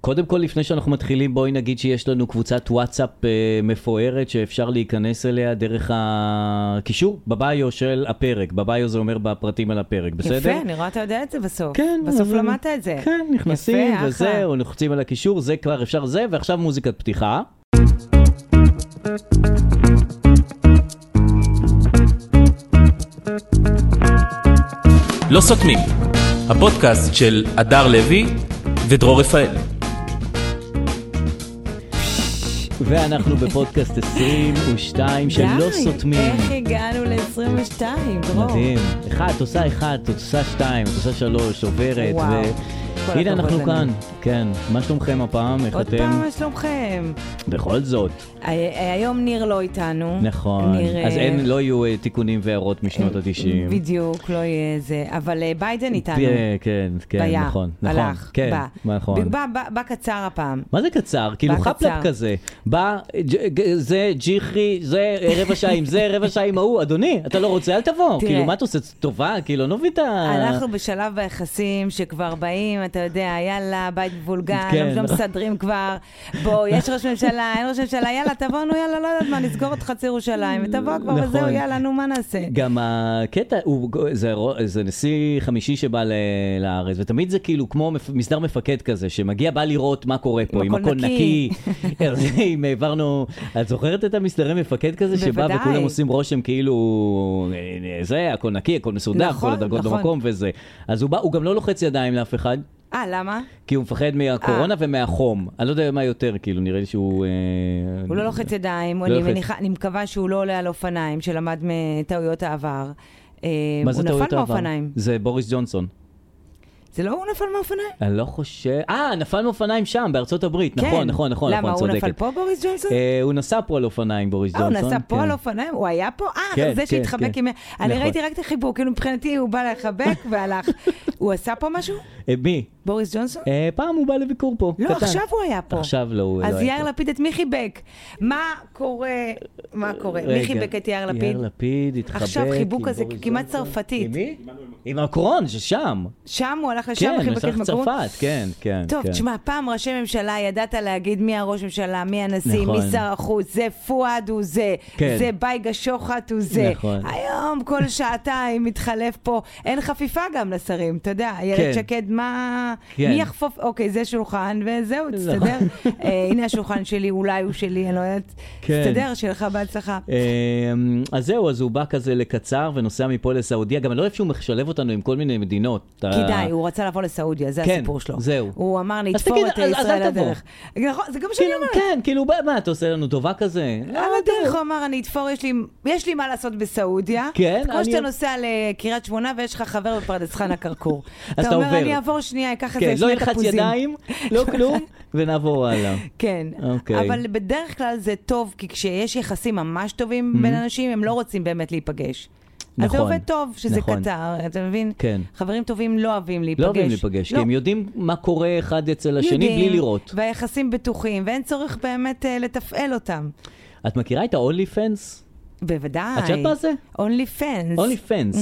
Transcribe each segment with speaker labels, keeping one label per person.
Speaker 1: קודם כל, לפני שאנחנו מתחילים, בואי נגיד שיש לנו קבוצת וואטסאפ אה, מפוארת שאפשר להיכנס אליה דרך הקישור בביו של הפרק. בביו זה אומר בפרטים על הפרק, בסדר?
Speaker 2: יפה, אני רואה אתה יודע את זה בסוף.
Speaker 1: כן,
Speaker 2: בסוף
Speaker 1: אבל-
Speaker 2: למדת את זה.
Speaker 1: כן, נכנסים
Speaker 2: יפה, אחלה.
Speaker 1: וזהו, לוחצים על הקישור, זה כבר אפשר זה, ועכשיו מוזיקת פתיחה.
Speaker 3: לא סותמים, הפודקאסט של הדר לוי ודרור רפאל.
Speaker 1: ואנחנו בפודקאסט 22 שלא
Speaker 2: די,
Speaker 1: לא סותמים.
Speaker 2: איך הגענו ל-22, דרור?
Speaker 1: מדהים. אחד, את עושה אחד, את עושה שתיים, את עושה שלוש, עוברת.
Speaker 2: וואו.
Speaker 1: ו-
Speaker 2: כל
Speaker 1: הנה
Speaker 2: הכבוד
Speaker 1: אנחנו
Speaker 2: לנו.
Speaker 1: כאן, כן. מה שלומכם הפעם? איך
Speaker 2: עוד
Speaker 1: אתם?
Speaker 2: פעם, מה שלומכם?
Speaker 1: בכל זאת,
Speaker 2: ה- ה- היום ניר לא איתנו.
Speaker 1: נכון.
Speaker 2: ניר,
Speaker 1: אז
Speaker 2: אה,
Speaker 1: אין, לא יהיו אה, תיקונים והערות משנות ה-90.
Speaker 2: בדיוק, לא יהיה זה. אבל אה, ביידן איתנו.
Speaker 1: כן, כן,
Speaker 2: היה,
Speaker 1: נכון. נכון,
Speaker 2: הלך,
Speaker 1: כן,
Speaker 2: בא.
Speaker 1: נכון.
Speaker 2: בא- בא- בא קצר הפעם.
Speaker 1: מה זה קצר? כאילו
Speaker 2: קצר.
Speaker 1: חפלפ כזה. בא, ג'- ג- זה ג'יחי, זה אה, רבע שעה עם זה, רבע שעה עם ההוא. אדוני, אתה לא רוצה, אל תבוא.
Speaker 2: תראה.
Speaker 1: כאילו, מה אתה עושה? טובה? כאילו, לא מבין את ה...
Speaker 2: אנחנו בשלב ביחסים שכבר באים, אתה יודע, יאללה, בית מבולגן,
Speaker 1: כן.
Speaker 2: לא מסדרים כבר, בוא, יש ראש ממשלה, אין ראש ממשלה, יאללה, תבוא, נו, יאללה, לא יודעת מה, נסגור את חצי ירושלים, ותבוא כבר,
Speaker 1: נכון.
Speaker 2: וזהו, יאללה, נו, מה נעשה?
Speaker 1: גם הקטע, הוא, זה, רו- זה נשיא חמישי שבא ל, לארץ, ותמיד זה כאילו כמו מפ- מסדר מפקד כזה, שמגיע, בא לראות מה קורה פה, אם
Speaker 2: אם הכל
Speaker 1: הכל נקי.
Speaker 2: נקי.
Speaker 1: אז אם העברנו, את זוכרת את המסדרי מפקד כזה, שבא
Speaker 2: בוודאי.
Speaker 1: וכולם עושים רושם כאילו, אה, אה, זה, הכל נקי, הכל מסודר,
Speaker 2: נכון,
Speaker 1: כל הדרגות
Speaker 2: נכון.
Speaker 1: במקום וזה. אז הוא בא, הוא גם לא לוחץ ידיים לאף אחד.
Speaker 2: אה, למה?
Speaker 1: כי הוא מפחד
Speaker 2: אה.
Speaker 1: מהקורונה ומהחום. אני לא יודע מה יותר, כאילו, נראה לי שהוא... אה,
Speaker 2: הוא לא לוחץ ידיים,
Speaker 1: לא
Speaker 2: אני
Speaker 1: לוחץ.
Speaker 2: מניחה, אני מקווה שהוא לא עולה על אופניים, שלמד מטעויות העבר. אה,
Speaker 1: מה זה
Speaker 2: הוא
Speaker 1: טעויות
Speaker 2: נפל
Speaker 1: העבר?
Speaker 2: מאופניים.
Speaker 1: זה בוריס ג'ונסון.
Speaker 2: זה לא הוא נפל מאופניים?
Speaker 1: אני לא חושב... אה, נפל מאופניים שם, בארצות הברית.
Speaker 2: כן.
Speaker 1: נכון, נכון, נכון,
Speaker 2: למה,
Speaker 1: נכון,
Speaker 2: הוא נפל
Speaker 1: צודקת.
Speaker 2: פה, בוריס ג'ונסון?
Speaker 1: אה, הוא נסע פה על אופניים, בוריס
Speaker 2: אה, הוא
Speaker 1: ג'ונסון.
Speaker 2: נסע פה
Speaker 1: כן.
Speaker 2: על אופניים? הוא היה פה?
Speaker 1: כן,
Speaker 2: אה,
Speaker 1: כן,
Speaker 2: זה שהתחבק
Speaker 1: כן.
Speaker 2: עם... אני
Speaker 1: נכון.
Speaker 2: ראיתי רק את החיבור, כאילו מבחינתי הוא בא לחבק והלך. הוא עשה פה משהו?
Speaker 1: אה, מי?
Speaker 2: בוריס ג'ונסון?
Speaker 1: אה, פעם הוא בא לביקור פה,
Speaker 2: לא,
Speaker 1: קטן.
Speaker 2: עכשיו הוא היה פה.
Speaker 1: עכשיו לא, הוא לא
Speaker 2: אז
Speaker 1: היה
Speaker 2: יאיר
Speaker 1: פה.
Speaker 2: לפיד את מי חיבק? מה קורה? מה קורה? מי
Speaker 1: רגע,
Speaker 2: חיבק את יאיר לפיד?
Speaker 1: יאיר לפיד התחבק
Speaker 2: עכשיו חיבוק
Speaker 1: עם
Speaker 2: כזה
Speaker 1: בוריס
Speaker 2: כמעט
Speaker 1: ג'ונסון.
Speaker 2: צרפתית.
Speaker 1: עם מי? עם מקרון, ששם.
Speaker 2: שם הוא הלך לשם
Speaker 1: כן,
Speaker 2: וחיבק את
Speaker 1: נוסח
Speaker 2: מקום.
Speaker 1: צרפת, כן, כן.
Speaker 2: טוב,
Speaker 1: כן.
Speaker 2: תשמע, פעם ראשי ממשלה ידעת להגיד מי הראש ממשלה, מי הנשיא,
Speaker 1: נכון.
Speaker 2: מי שר החוץ, זה פואד הוא זה,
Speaker 1: כן.
Speaker 2: זה בייגה שוחט הוא זה.
Speaker 1: נכון.
Speaker 2: היום כל שעתיים מתחלף פה, אין חפיפה גם לשרים, אתה יודע,
Speaker 1: כן.
Speaker 2: איילת שקד, מה...
Speaker 1: כן. לא.
Speaker 2: מי יחפוף? אוקיי, זה שולחן, וזהו, תסתדר. אה, הנה השולחן שלי, אולי הוא שלי, אני לא יודעת.
Speaker 1: כן.
Speaker 2: תסתדר, שיהיה לך בהצלחה.
Speaker 1: אמ, אז זהו, אז הוא בא כזה לקצר ונוסע מפה לסעודיה. גם אני לא אוהב שהוא משלב אותנו עם כל מיני מדינות.
Speaker 2: כדאי, הוא רצה לבוא לסעודיה, זה
Speaker 1: אה, כן,
Speaker 2: הסיפור שלו.
Speaker 1: זהו.
Speaker 2: הוא אמר,
Speaker 1: אז
Speaker 2: נתפור
Speaker 1: תגיד,
Speaker 2: את
Speaker 1: אז- אז
Speaker 2: ישראל
Speaker 1: אל תבוא.
Speaker 2: לדרך. נכון, זה גם מה שאני
Speaker 1: כאילו,
Speaker 2: אומרת.
Speaker 1: כן, כאילו, מה- מה, אתה עושה לנו טובה כזה?
Speaker 2: על הדרך הוא אמר, אני אתפור, יש לי, יש לי מה לעשות בסעודיה.
Speaker 1: כן,
Speaker 2: כמו
Speaker 1: אני-
Speaker 2: שאתה נוסע לקריית שמונה ויש לך חבר בפרדס חנה כרכור.
Speaker 1: אתה עובר.
Speaker 2: אומר, אני אעבור שנייה, אקח איזה
Speaker 1: כן, לא
Speaker 2: שני
Speaker 1: ילחץ
Speaker 2: תפוזים.
Speaker 1: ידיים, לא כלום, ונעבור הלאה. לא
Speaker 2: כן,
Speaker 1: אוקיי.
Speaker 2: אבל בדרך כלל זה טוב, כי כשיש יחסים ממש טובים בין אנשים, הם לא רוצים באמת להיפגש. אז
Speaker 1: Mm-hmm. נכון,
Speaker 2: זה עובד טוב שזה
Speaker 1: נכון.
Speaker 2: קצר, אתה מבין?
Speaker 1: כן.
Speaker 2: חברים טובים לא אוהבים להיפגש.
Speaker 1: לא אוהבים להיפגש,
Speaker 2: לא.
Speaker 1: כי הם יודעים מה קורה אחד אצל השני
Speaker 2: יודעים,
Speaker 1: בלי לראות.
Speaker 2: והיחסים בטוחים, ואין צורך באמת אה, לתפעל אותם.
Speaker 1: את מכירה את ה-only fans?
Speaker 2: בוודאי.
Speaker 1: את יודעת מה זה?
Speaker 2: אונלי פנס.
Speaker 1: only fans,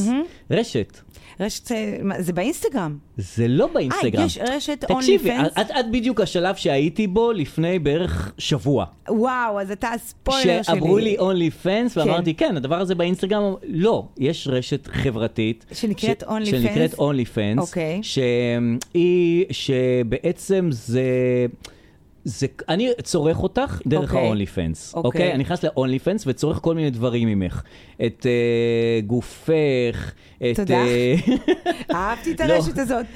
Speaker 1: רשת.
Speaker 2: רשת, אה, מה, זה באינסטגרם.
Speaker 1: זה לא באינסטגרם.
Speaker 2: אה, יש רשת
Speaker 1: תקשיבי,
Speaker 2: OnlyFans?
Speaker 1: את, את בדיוק השלב שהייתי בו לפני בערך שבוע.
Speaker 2: וואו, אז אתה הספוילר שלי.
Speaker 1: שאמרו לי אונלי פנס, ואמרתי, כן, הדבר הזה באינסטגרם, לא, יש רשת חברתית.
Speaker 2: שנקראת
Speaker 1: ש-
Speaker 2: OnlyFans?
Speaker 1: שנקראת אונלי פנס.
Speaker 2: אוקיי.
Speaker 1: שהיא, שבעצם זה... זה, אני צורך אותך דרך okay.
Speaker 2: אוקיי.
Speaker 1: ה-only fans,
Speaker 2: אוקיי.
Speaker 1: אוקיי? אני נכנס ל-only fans וצורך כל מיני דברים ממך. את uh, גופך, את...
Speaker 2: תודה.
Speaker 1: אה,
Speaker 2: אהבתי את
Speaker 1: לא.
Speaker 2: הרשת הזאת.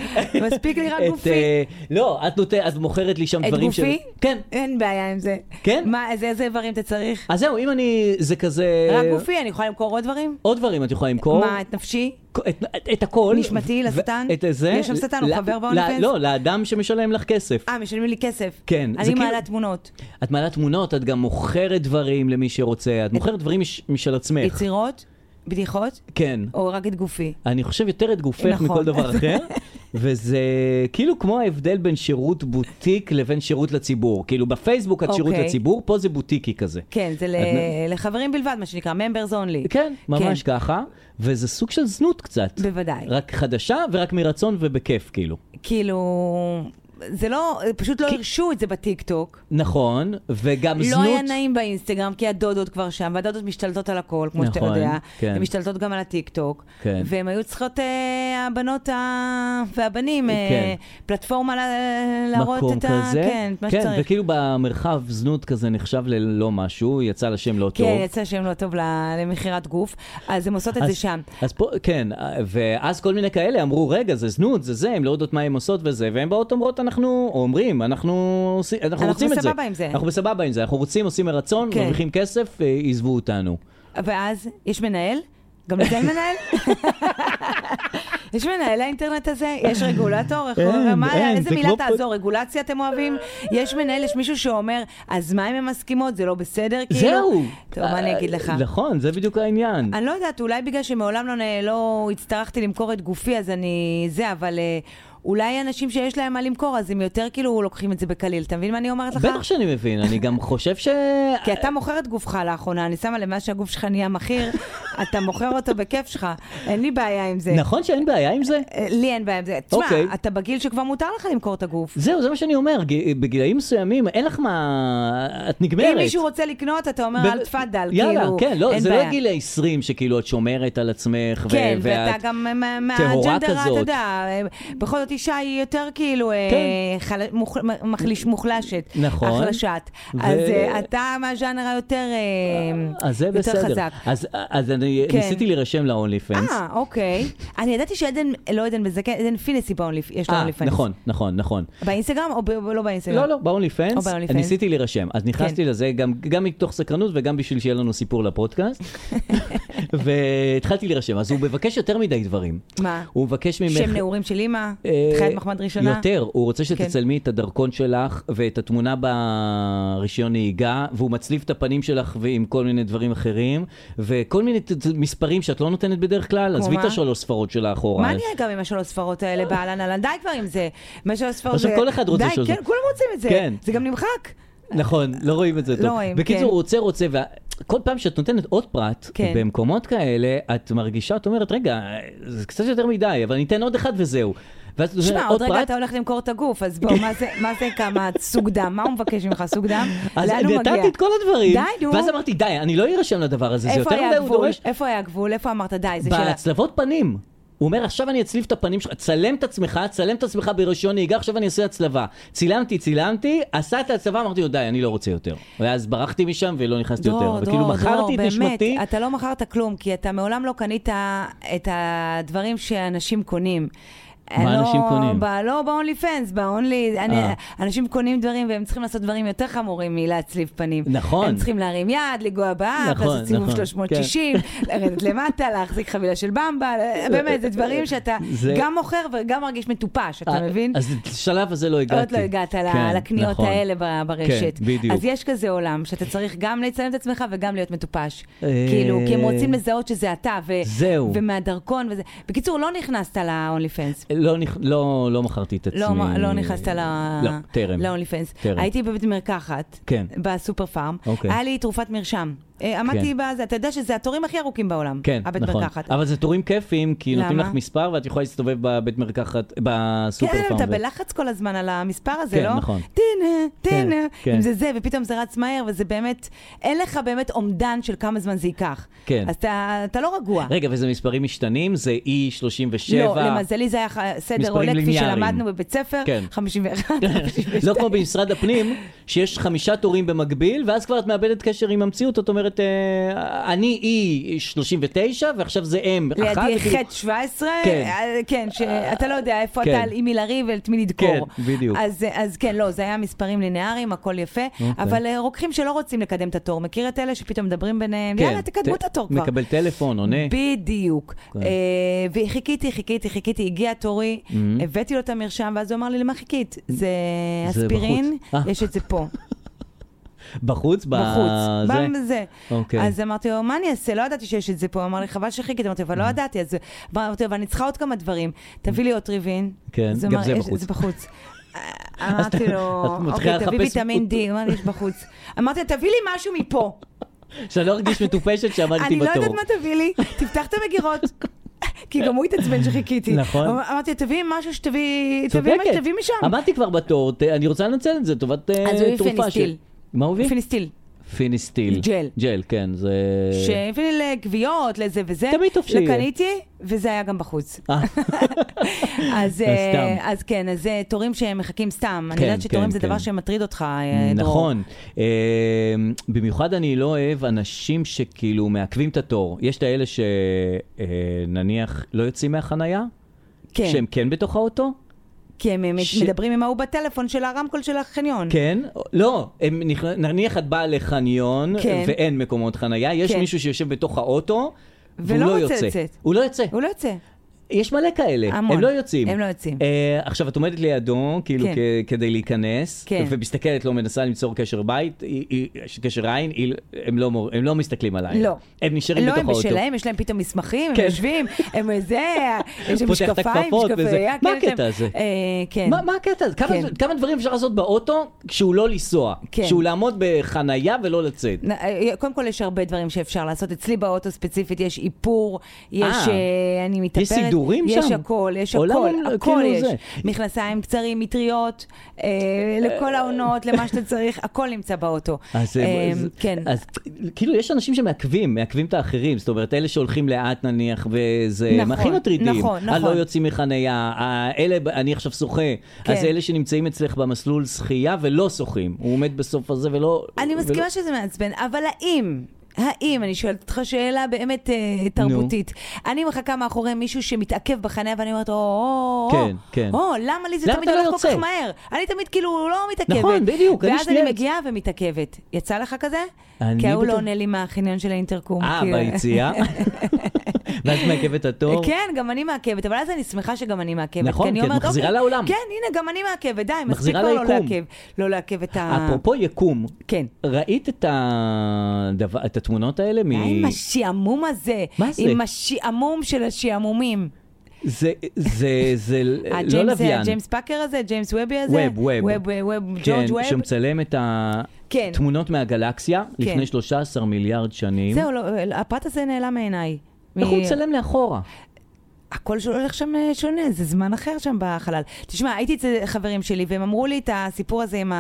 Speaker 2: מספיק לי רק
Speaker 1: את,
Speaker 2: גופי.
Speaker 1: אה, לא, את נותנת, את מוכרת לי שם
Speaker 2: את
Speaker 1: דברים
Speaker 2: גופי?
Speaker 1: כן.
Speaker 2: אין בעיה עם זה.
Speaker 1: כן?
Speaker 2: מה, איזה איזה איברים אתה צריך?
Speaker 1: אז זהו, אם אני... זה כזה...
Speaker 2: רק גופי, אני יכולה למכור עוד דברים?
Speaker 1: עוד דברים את יכולה אה, למכור.
Speaker 2: מה, את נפשי?
Speaker 1: את, את, את הכל.
Speaker 2: נשמתי
Speaker 1: ו-
Speaker 2: לשטן?
Speaker 1: את זה.
Speaker 2: יש שם שטן, הוא
Speaker 1: ל-
Speaker 2: חבר
Speaker 1: ל-
Speaker 2: ב-OnlyFans?
Speaker 1: לא, לאדם שמשלם לך כסף.
Speaker 2: אה, משלמים לי כסף.
Speaker 1: כן, זה
Speaker 2: אני
Speaker 1: כאילו-
Speaker 2: מעלה תמונות.
Speaker 1: את מעלה תמונות, את גם מוכרת דברים למי שרוצה, את מוכרת דברים מש, משל עצמך.
Speaker 2: יצירות? בדיחות?
Speaker 1: כן.
Speaker 2: או רק את גופי?
Speaker 1: אני חושב יותר את גופך
Speaker 2: נכון.
Speaker 1: מכל דבר אחר, וזה כאילו כמו ההבדל בין שירות בוטיק לבין שירות לציבור. כאילו בפייסבוק את שירות
Speaker 2: אוקיי.
Speaker 1: לציבור, פה זה בוטיקי כזה.
Speaker 2: כן, זה ל-
Speaker 1: את-
Speaker 2: לחברים בלבד, מה שנקרא, members only.
Speaker 1: כן, ממש כן. ככה, וזה סוג של זנות קצת.
Speaker 2: בוודאי.
Speaker 1: רק חדשה ורק מרצון ובכיף, כאילו.
Speaker 2: כאילו, זה לא, פשוט לא
Speaker 1: כי-
Speaker 2: הרשו את זה בטיקטוק.
Speaker 1: נכון, וגם
Speaker 2: לא
Speaker 1: זנות...
Speaker 2: היה נעים באינסטגרם, כי הדודות כבר שם, והדודות משתלטות על הכל, כמו שאתה
Speaker 1: נכון,
Speaker 2: יודע.
Speaker 1: כן.
Speaker 2: הן משתלטות גם על הטיקטוק.
Speaker 1: כן.
Speaker 2: והן היו צריכות, אה, הבנות ה... והבנים, אה,
Speaker 1: כן.
Speaker 2: פלטפורמה ל- להראות
Speaker 1: מקום
Speaker 2: את ה...
Speaker 1: כזה.
Speaker 2: כן, את מה
Speaker 1: כן,
Speaker 2: שצריך.
Speaker 1: וכאילו במרחב זנות כזה נחשב ללא משהו, יצא לשם לא טוב.
Speaker 2: כן, יצא שם לא טוב ל- למכירת גוף, אז הן עושות את זה שם.
Speaker 1: אז פה, כן, ואז כל מיני כאלה אמרו, רגע, זה זנות, זה זה, הן לא יודעות מה הן עושות וזה, והן באות אומרות, אנחנו, או אומרים, אנחנו, עושים- אנחנו
Speaker 2: אנחנו
Speaker 1: רוצים את זה.
Speaker 2: בסבבה עם זה."
Speaker 1: אנחנו בסבבה עם זה, אנחנו רוצים, עושים מרצון,
Speaker 2: כן. כאילו-
Speaker 1: מרוויחים כסף, אה, עזבו אותנו.
Speaker 2: ואז יש מנהל? גם לזה אין מנהל? יש מנהל לאינטרנט הזה? יש רגולטור? איך
Speaker 1: אין,
Speaker 2: אומרים? מה-
Speaker 1: אין,
Speaker 2: איזה
Speaker 1: זה
Speaker 2: מילה
Speaker 1: כמו פ-
Speaker 2: תעזור? רגולציה אתם אוהבים? יש מנהל, יש מישהו שאומר, אז מה אם הן מסכימות? זה לא בסדר? כאילו?"
Speaker 1: זהו!
Speaker 2: טוב, מה אני אגיד לך?
Speaker 1: אה, נכון, זה בדיוק העניין.
Speaker 2: אני לא יודעת, אולי בגלל שמעולם לא, נ- לא הצטרכתי למכור את גופי, אז אני... זה, אבל אה, אולי אנשים שיש להם מה למכור, אז הם יותר כאילו לוקחים את זה בקליל. אתה מבין מה אני אומרת לך?
Speaker 1: בטח שאני מבין, אני גם חושב ש...
Speaker 2: כי אתה מוכר את גופך לאחרונה, אני שמה לב, מאז שהגוף שלך נהיה מכיר, אתה מוכר אותו בכיף שלך, אין לי בעיה עם זה.
Speaker 1: נכון שאין בעיה עם זה?
Speaker 2: אה, לי אין בעיה עם זה. תשמע,
Speaker 1: נכון. אוקיי.
Speaker 2: אתה בגיל שכבר מותר לך למכור את הגוף.
Speaker 1: זהו, זה מה שאני אומר, ג- בגילאים מסוימים אין לך מה... את נגמרת.
Speaker 2: אם מישהו רוצה לקנות, אתה אומר,
Speaker 1: ב-
Speaker 2: אל תפאדל, כאילו,
Speaker 1: יאללה, כן, לא,
Speaker 2: אין
Speaker 1: זה
Speaker 2: בעיה.
Speaker 1: לא גיל ה-20 שכאילו את שומרת על עצמך, ו-
Speaker 2: כן, ואתה
Speaker 1: ואת-
Speaker 2: גם מה-
Speaker 1: טהורה
Speaker 2: מהג'נדר, אתה
Speaker 1: כזאת.
Speaker 2: יודע, אה, בכל זאת אישה היא יותר כאילו אה,
Speaker 1: כן.
Speaker 2: חל- מוח- מחליש- מוחלשת,
Speaker 1: נכון.
Speaker 2: החלשת.
Speaker 1: ו-
Speaker 2: אז אה, אתה מהז'אנר היותר אה,
Speaker 1: אז זה
Speaker 2: יותר
Speaker 1: בסדר.
Speaker 2: חזק.
Speaker 1: אז, אז אני
Speaker 2: כן.
Speaker 1: ניסיתי להירשם להונלי פנס.
Speaker 2: אה, אוקיי. אני ידעתי שעדן, לא עדן בזקן, עדן פינס יש לו
Speaker 1: אה,
Speaker 2: אונלי פנס.
Speaker 1: נכון, נכון, נכון.
Speaker 2: באינסטגרם או ב- לא באינסטגרם?
Speaker 1: לא, לא, בהונלי
Speaker 2: או
Speaker 1: פנס,
Speaker 2: ב-OnlyFans. כן.
Speaker 1: ניסיתי להירשם. אז נכנסתי לזה גם- גם מתוך סקרנות וגם בשביל שיהיה לנו סיפור לפודקאסט. והתחלתי להירשם. אז הוא מבקש יותר מדי דברים.
Speaker 2: מה?
Speaker 1: הוא מבקש ממך...
Speaker 2: שם נעורים של אימא?
Speaker 1: אה,
Speaker 2: חיית מחמד ראשונה?
Speaker 1: יותר, הוא רוצה
Speaker 2: כן.
Speaker 1: שתצלמי את הדרכון שלך ואת התמונה ברישיון נהיגה, והוא מצליף את הפנים שלך ועם כל מיני דברים אחרים, וכל מיני ת- ת- מספרים שאת לא נותנת בדרך כלל, עזבי את
Speaker 2: מה?
Speaker 1: השלוש ספרות שלה אחורה.
Speaker 2: מה נהיה גם עם השלוש ספרות האלה באהלן אהלן? די כבר עם זה. מה שלוש ספרות
Speaker 1: עכשיו
Speaker 2: זה...
Speaker 1: כל אחד רוצה
Speaker 2: די,
Speaker 1: שלוש-
Speaker 2: כן, כולם רוצים את זה.
Speaker 1: כן.
Speaker 2: זה גם נמחק.
Speaker 1: נכון, לא רואים את זה
Speaker 2: לא
Speaker 1: טוב.
Speaker 2: רואים,
Speaker 1: בקיצור,
Speaker 2: כן.
Speaker 1: הוא רוצה, רוצה, וכל פעם שאת נותנת עוד פרט,
Speaker 2: כן.
Speaker 1: במקומות כאלה, את מרגישה, את אומרת, רגע, זה קצת יותר מדי, אבל אני אתן עוד אחד וזהו. ואז את נותנת
Speaker 2: שמע, עוד רגע
Speaker 1: פרט,
Speaker 2: אתה הולך למכור את הגוף, אז בוא, מה זה- מה זה כמה סוג דם? מה הוא מבקש ממך, סוג דם?
Speaker 1: אז
Speaker 2: לאן הוא מגיע?
Speaker 1: נתתי את כל הדברים,
Speaker 2: די, נו.
Speaker 1: ואז אמרתי, די, אני לא אירשם לדבר הזה, זה
Speaker 2: איפה
Speaker 1: יותר
Speaker 2: היה
Speaker 1: מדי, הוא
Speaker 2: הגבול?
Speaker 1: דורש.
Speaker 2: איפה היה הגבול? איפה אמרת די? זה שאלה.
Speaker 1: בהצלבות פנים. הוא אומר, עכשיו אני אצליב את הפנים שלך, צלם את עצמך, צלם את עצמך ברישיון נהיגה, עכשיו אני אעשה הצלבה. צילמתי, צילמתי, עשה את ההצלבה, אמרתי לו, די, אני לא רוצה יותר. ואז ברחתי משם ולא נכנסתי יותר. וכאילו מכרתי את נשמתי.
Speaker 2: באמת, אתה לא מכרת כלום, כי אתה מעולם לא קנית את הדברים שאנשים קונים.
Speaker 1: מה
Speaker 2: לא,
Speaker 1: אנשים קונים?
Speaker 2: ב, לא ב-only fans, ב-only... אני-
Speaker 1: אה.
Speaker 2: אנשים קונים דברים והם צריכים לעשות דברים יותר חמורים מלהצליב פנים.
Speaker 1: נכון.
Speaker 2: הם צריכים להרים יד, לנגוע באף,
Speaker 1: נכון,
Speaker 2: לעשות סיבוב
Speaker 1: נכון, כן.
Speaker 2: 360, לרדת למטה, להחזיק חבילה של במבה, באמת, זה דברים שאתה
Speaker 1: זה-
Speaker 2: גם מוכר וגם מרגיש מטופש, אתה
Speaker 1: אה,
Speaker 2: מבין?
Speaker 1: אז לשלב הזה לא הגעתי.
Speaker 2: עוד לא הגעת ל-
Speaker 1: כן,
Speaker 2: לקניות
Speaker 1: נכון.
Speaker 2: האלה ב- ברשת.
Speaker 1: כן, בדיוק.
Speaker 2: אז יש כזה עולם, שאתה צריך גם לצלם את עצמך וגם להיות מטופש.
Speaker 1: אה,
Speaker 2: כאילו, כי הם רוצים לזהות שזה אתה, ו-
Speaker 1: זהו.
Speaker 2: ומהדרכון וזה. בקיצור, לא נכנסת ל-only fans.
Speaker 1: לא, נכ- לא, לא מכרתי את עצמי.
Speaker 2: לא, לא נכנסת ל-
Speaker 1: לא, טרם.
Speaker 2: ל-only fans.
Speaker 1: טרם.
Speaker 2: הייתי בבית מרקחת,
Speaker 1: כן.
Speaker 2: בסופר פארם,
Speaker 1: אוקיי.
Speaker 2: היה לי תרופת מרשם. אה, עמדתי בזה, אתה יודע שזה התורים הכי ארוכים בעולם,
Speaker 1: כן,
Speaker 2: הבית
Speaker 1: נכון.
Speaker 2: מרקחת.
Speaker 1: אבל זה תורים כיפיים, כי נותנים
Speaker 2: למה?
Speaker 1: לך מספר ואת יכולה להסתובב בבית מרקחת, בסופר
Speaker 2: כן,
Speaker 1: פארם.
Speaker 2: אתה
Speaker 1: ו-
Speaker 2: בלחץ כל הזמן על המספר הזה,
Speaker 1: כן,
Speaker 2: לא?
Speaker 1: נכון.
Speaker 2: תהנה, תהנה.
Speaker 1: כן.
Speaker 2: אם זה זה, ופתאום זה רץ מהר, וזה באמת, אין לך באמת אומדן של כמה זמן זה ייקח.
Speaker 1: כן.
Speaker 2: אז אתה אתה לא רגוע.
Speaker 1: רגע, וזה מספרים משתנים? זה E37?
Speaker 2: לא, למזלי זה היה ח- סדר
Speaker 1: מספרים
Speaker 2: עולה, כפי
Speaker 1: ליניאריים.
Speaker 2: שלמדנו בבית ספר,
Speaker 1: כן.
Speaker 2: 51,
Speaker 1: לא
Speaker 2: 52.
Speaker 1: כמו במשרד הפנים, שיש חמישה תורים במקביל, ואז כבר את מאבדת קשר עם המציאות, את אומרת, אה, אני E 39, ועכשיו זה M אחת.
Speaker 2: לידי
Speaker 1: וכאילו-
Speaker 2: חטא 17,
Speaker 1: כן.
Speaker 2: אה, כן, שאתה לא יודע איפה
Speaker 1: כן.
Speaker 2: אתה, עם מי לריב ואת מי לדקור.
Speaker 1: כן, בדיוק. אוקיי.
Speaker 2: אז- אז כן, לא, זה היה מספרים לינאריים, הכל יפה, אבל אה, רוקחים שלא רוצים לקדם את התור, מכיר את אלה שפתאום מדברים ביניהם,
Speaker 1: כן,
Speaker 2: יאללה, תקדמו
Speaker 1: ת-
Speaker 2: את התור כבר.
Speaker 1: מקבל טלפון, עונה.
Speaker 2: בדיוק.
Speaker 1: אוקיי.
Speaker 2: אה, וחיכיתי, חיכיתי, חיכיתי, הגיע תורי, הבאתי לו את המרשם, ואז הוא אמר לי, למה חיכית? זה
Speaker 1: Mm-hmm. זה
Speaker 2: אספירין,
Speaker 1: בחוץ. אה.
Speaker 2: יש את זה פה,
Speaker 1: בחוץ? ב-
Speaker 2: בחוץ.
Speaker 1: זה?
Speaker 2: זה.
Speaker 1: אוקיי.
Speaker 2: אז אמרתי לו, מה אני אעשה? לא ידעתי שיש את זה פה. הוא אמר לי, חבל שחיכית. אמרתי,
Speaker 1: Mm-hmm.
Speaker 2: אבל לא ידעתי. אז אמרתי, אבל אני צריכה עוד כמה דברים. תביא לי עוד ריבין.
Speaker 1: כן,
Speaker 2: אז הוא
Speaker 1: גם
Speaker 2: אמר,
Speaker 1: זה
Speaker 2: "יש-
Speaker 1: בחוץ."
Speaker 2: זה בחוץ. אמרתי לו,
Speaker 1: את מתחילה
Speaker 2: אוקיי, תביא
Speaker 1: לחפש-
Speaker 2: ויטמין D, הוא אמר לי, יש בחוץ. אמרתי לו, תביא לי משהו מפה.
Speaker 1: שאני לא ארגיש מטופשת שעמדתי
Speaker 2: אני
Speaker 1: בתור.
Speaker 2: לא יודעת מה תביא לי, תפתח את המגירות. כי גם הוא התעצבן שחיכיתי.
Speaker 1: נכון.
Speaker 2: אמר- אמרתי, תביאי משהו שתביאי, תביאי מה
Speaker 1: צודקת.
Speaker 2: שתביאי משם.
Speaker 1: עמדתי כבר בתור, ת- אני רוצה לנצל את זה לטובת אה,
Speaker 2: אז הוא הביא
Speaker 1: תרופה
Speaker 2: פיניסטיל.
Speaker 1: מה הוא הביא?
Speaker 2: פיניסטיל.
Speaker 1: פיניסטיל.
Speaker 2: ג'ל.
Speaker 1: ג'ל, כן, זה...
Speaker 2: שהביא לי לגוויות, לזה וזה.
Speaker 1: תמיד טוב שיהיה.
Speaker 2: וקניתי, וזה היה גם בחוץ.
Speaker 1: אה,
Speaker 2: אז,
Speaker 1: אז
Speaker 2: אה,
Speaker 1: סתם.
Speaker 2: אז כן, אז אה, תורים שמחכים סתם.
Speaker 1: כן,
Speaker 2: אני יודעת שתורים
Speaker 1: כן,
Speaker 2: זה
Speaker 1: כן.
Speaker 2: דבר שמטריד אותך, אה, דרור.
Speaker 1: נכון. אה, במיוחד אני לא אוהב אנשים שכאילו מעכבים את התור. יש את האלה שנניח לא יוצאים מהחנייה,
Speaker 2: כן,
Speaker 1: שהם כן בתוך האוטו,
Speaker 2: כי הם הם
Speaker 1: ש-
Speaker 2: מדברים עם ההוא בטלפון של הרמקול של החניון.
Speaker 1: כן, לא, הם נכנ- נניח את באה לחניון
Speaker 2: כן.
Speaker 1: ואין מקומות חנייה, יש
Speaker 2: כן.
Speaker 1: מישהו שיושב בתוך האוטו והוא
Speaker 2: ולא
Speaker 1: לא
Speaker 2: רוצה
Speaker 1: יוצא.
Speaker 2: לצאת.
Speaker 1: הוא לא יוצא.
Speaker 2: הוא לא יוצא.
Speaker 1: יש מלא כאלה,
Speaker 2: המון.
Speaker 1: הם לא יוצאים.
Speaker 2: הם לא יוצאים.
Speaker 1: אה, עכשיו, את עומדת לידו, כאילו,
Speaker 2: כן.
Speaker 1: כ- כדי להיכנס,
Speaker 2: כן.
Speaker 1: ומסתכלת לו, מנסה ליצור קשר בית, היא- היא- קשר עין, היא- הם לא מור- הם לא מסתכלים עליי.
Speaker 2: לא.
Speaker 1: הם נשארים
Speaker 2: לא,
Speaker 1: בתוך
Speaker 2: הם
Speaker 1: האוטו.
Speaker 2: בשלהם, יש להם פתאום מסמכים, הם
Speaker 1: כן.
Speaker 2: יושבים, הם זה, יש להם
Speaker 1: פותח את
Speaker 2: משקפיים,
Speaker 1: הכפפות
Speaker 2: משקפי
Speaker 1: וזה.
Speaker 2: ראייה,
Speaker 1: מה
Speaker 2: כן, יש
Speaker 1: הקטע
Speaker 2: להם-
Speaker 1: הזה?
Speaker 2: אה, כן.
Speaker 1: מה, מה הקטע הזה? כמה,
Speaker 2: כן.
Speaker 1: כמה דברים אפשר לעשות באוטו כשהוא לא לנסוע?
Speaker 2: כן.
Speaker 1: כשהוא לעמוד בחנייה ולא לצאת.
Speaker 2: נ- אה, קודם כל יש הרבה דברים שאפשר לעשות. אצלי באוטו ספציפית יש איפור, יש,
Speaker 1: אה.
Speaker 2: אה, אני מתאפרת.
Speaker 1: יש סידורים
Speaker 2: יש
Speaker 1: שם?
Speaker 2: הכל, יש
Speaker 1: עולם,
Speaker 2: הכל,
Speaker 1: כאילו
Speaker 2: הכל יש.
Speaker 1: זה.
Speaker 2: מכנסיים קצרים, מטריות, אה, לכל העונות, למה שאתה צריך, הכל נמצא באוטו.
Speaker 1: אז,
Speaker 2: אה,
Speaker 1: אז,
Speaker 2: כן.
Speaker 1: אז כאילו יש אנשים שמעכבים, מעכבים את האחרים, זאת אומרת אלה שהולכים לאט נניח וזה, הם
Speaker 2: נכון,
Speaker 1: הכי מטרידים,
Speaker 2: נכון, נכון.
Speaker 1: הלא יוצאים מחנייה, אלה, אני עכשיו שוחה,
Speaker 2: כן.
Speaker 1: אז אלה שנמצאים אצלך במסלול שחייה ולא שוחים, הוא עומד בסוף הזה ולא...
Speaker 2: אני
Speaker 1: ולא-
Speaker 2: מסכימה שזה מעצבן, אבל האם, האם, אני שואלת אותך שאלה באמת אה, תרבותית, אני מחכה מאחורי מישהו שמתעכב בחניה ואני אומרת, או, או, או,
Speaker 1: כן, כן.
Speaker 2: או, למה לי זה
Speaker 1: למה
Speaker 2: תמיד
Speaker 1: אתה לא
Speaker 2: הולך כל
Speaker 1: יוצא?"
Speaker 2: כך מהר? אני תמיד כאילו לא מתעכבת.
Speaker 1: נכון, בדיוק, אני
Speaker 2: ואז
Speaker 1: שנייה
Speaker 2: אני
Speaker 1: יוצא-
Speaker 2: מגיעה ומתעכבת. יצא לך כזה?
Speaker 1: אני
Speaker 2: כי ההוא לא
Speaker 1: בטח-
Speaker 2: עונה לי מהחניון של האינטרקום.
Speaker 1: אה,
Speaker 2: כאילו.
Speaker 1: ביציאה? ואז מעכבת את התור?
Speaker 2: כן, גם אני מעכבת, אבל אז אני שמחה שגם אני מעכבת.
Speaker 1: נכון,
Speaker 2: אני
Speaker 1: כי את
Speaker 2: אומרת,
Speaker 1: מחזירה
Speaker 2: "אוקיי,
Speaker 1: לעולם."
Speaker 2: כן, הנה, גם אני מעכבת, די, מספיק
Speaker 1: מחזירה
Speaker 2: כבר לא
Speaker 1: ליקום.
Speaker 2: לעכב. לא לעכב את ה...
Speaker 1: אפרופו יקום,
Speaker 2: כן.
Speaker 1: ראית את, הדבר, את התמונות האלה? מ...
Speaker 2: די עם השעמום הזה.
Speaker 1: מה זה?
Speaker 2: עם השעמום של השעמומים.
Speaker 1: זה, זה, זה לא
Speaker 2: הג'יימס-
Speaker 1: לוויין.
Speaker 2: הג'יימס פאקר הזה? אה, ג'יימס וובי הזה?
Speaker 1: ווב, ווב.
Speaker 2: ווב, אה, ווב,
Speaker 1: כן,
Speaker 2: ג'ורג' ווב.
Speaker 1: שמצלם את
Speaker 2: כן.
Speaker 1: התמונות מהגלקסיה לפני 13 מיליארד שנים.
Speaker 2: זהו, לא, הפרט הזה נעלם מעיניי.
Speaker 1: איך הוא
Speaker 2: מ-
Speaker 1: מצלם לאחורה?
Speaker 2: הכל שלו הולך שם אה, שונה, זה זמן אחר שם בחלל. תשמע, הייתי אצל חברים שלי, והם אמרו לי את הסיפור הזה עם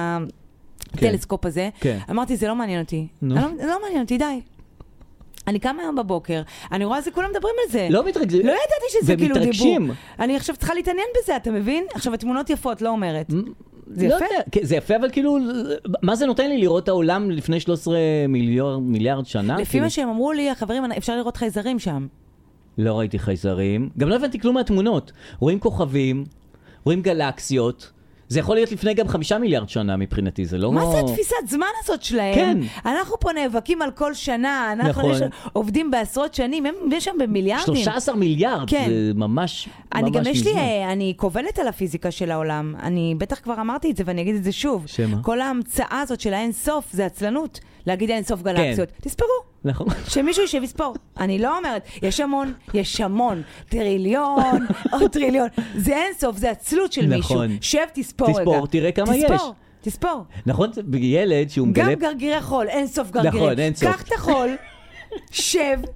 Speaker 2: הטלסקופ הזה.
Speaker 1: כן.
Speaker 2: אמרתי, זה לא מעניין אותי.
Speaker 1: נו.
Speaker 2: אני לא, זה לא מעניין אותי, די. אני קמה היום בבוקר, אני רואה זה, כולם מדברים על זה.
Speaker 1: לא מתרגזים.
Speaker 2: לא ידעתי שזה כאילו דיבור.
Speaker 1: ומתרגשים.
Speaker 2: אני עכשיו צריכה להתעניין בזה, אתה מבין? עכשיו, התמונות יפות, לא אומרת. זה
Speaker 1: לא
Speaker 2: יפה.
Speaker 1: יודע, כן, זה יפה, אבל כאילו, מה זה נותן לי לראות את העולם לפני 13 מיליארד, מיליארד שנה?
Speaker 2: לפי
Speaker 1: כאילו,
Speaker 2: מה שהם אמרו לי, החברים, אפשר לראות חייזרים שם.
Speaker 1: לא ראיתי חייזרים. גם לא הבנתי כלום מהתמונות. רואים כוכבים, רואים גלקסיות. זה יכול להיות לפני גם חמישה מיליארד שנה מבחינתי, זה לא...
Speaker 2: מה זה התפיסת זמן הזאת שלהם?
Speaker 1: כן.
Speaker 2: אנחנו פה נאבקים על כל שנה, אנחנו
Speaker 1: נכון.
Speaker 2: יש- עובדים בעשרות שנים, הם יש שם במיליארדים.
Speaker 1: 13 מיליארד,
Speaker 2: כן.
Speaker 1: זה ממש,
Speaker 2: אני
Speaker 1: ממש
Speaker 2: גם יש לי,
Speaker 1: מזמן.
Speaker 2: אה, אני קובלת על הפיזיקה של העולם. אני בטח כבר אמרתי את זה ואני אגיד את זה שוב.
Speaker 1: שמה?
Speaker 2: כל ההמצאה הזאת של האין סוף זה עצלנות. להגיד אין
Speaker 1: כן.
Speaker 2: סוף גלקסיות. תספרו.
Speaker 1: נכון.
Speaker 2: שמישהו יישב יספור. אני לא אומרת, יש המון, יש המון, טריליון, עוד טריליון. זה אין סוף, זה עצלות של מישהו.
Speaker 1: נכון.
Speaker 2: שב, תספור רגע.
Speaker 1: תספור, תראה כמה
Speaker 2: תספור, תספור.
Speaker 1: נכון, זה ילד שהוא מגלה...
Speaker 2: גם גרגירי חול, אין סוף גרגירים.
Speaker 1: נכון, אין סוף.
Speaker 2: קח את החול, שב.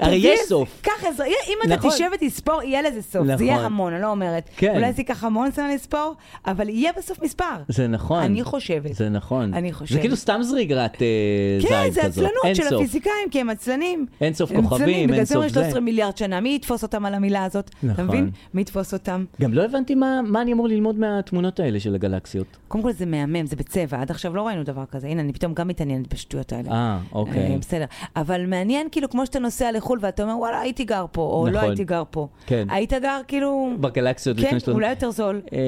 Speaker 1: הרי
Speaker 2: תביא-
Speaker 1: יש סוף.
Speaker 2: קח עזרה, יהיה- אם אתה
Speaker 1: נכון.
Speaker 2: תשב ותספור, יהיה לזה סוף. זה יהיה
Speaker 1: נכון.
Speaker 2: המון, אני לא אומרת.
Speaker 1: כן.
Speaker 2: אולי זה ייקח המון זמן לספור, אבל יהיה בסוף מספר.
Speaker 1: זה נכון.
Speaker 2: אני חושבת.
Speaker 1: זה נכון.
Speaker 2: אני
Speaker 1: זה
Speaker 2: חושבת.
Speaker 1: כאילו סתם זריגרת אה, זין כזאת.
Speaker 2: כן, זה עצלנות
Speaker 1: אין
Speaker 2: של
Speaker 1: סוף.
Speaker 2: הפפיזיקאים, כי הם עצלנים.
Speaker 1: אין סוף
Speaker 2: הם
Speaker 1: כוכבים,
Speaker 2: עצלנים,
Speaker 1: אין
Speaker 2: בגלל זה
Speaker 1: סוף
Speaker 2: אומרים
Speaker 1: זה.
Speaker 2: 13 מיליארד שנה, מי יתפוס אותם על המילה הזאת? אתה
Speaker 1: נכון.
Speaker 2: מבין? מי יתפוס אותם?
Speaker 1: גם לא הבנתי מה, מה אני אמור ללמוד מהתמונות האלה של הגלקסיות.
Speaker 2: קודם כל זה מהמם, זה בצבע, עד עכשיו לא ראינו דבר כזה. הנה, אני פתאום גם מתעניינת בשטויות האלה.
Speaker 1: אה,
Speaker 2: אה,
Speaker 1: אוקיי.
Speaker 2: בסדר. אבל מעניין, כאילו, כמו שאתה נוסע לחו"ל ואתה אומר, וואלה, הייתי גר פה, או לא
Speaker 1: נכון.
Speaker 2: הייתי גר פה.
Speaker 1: כן.
Speaker 2: היית גר, כאילו...
Speaker 1: בגלקסיות
Speaker 2: כן,
Speaker 1: לפני שלוש...
Speaker 2: אולי יותר זול.
Speaker 1: אה,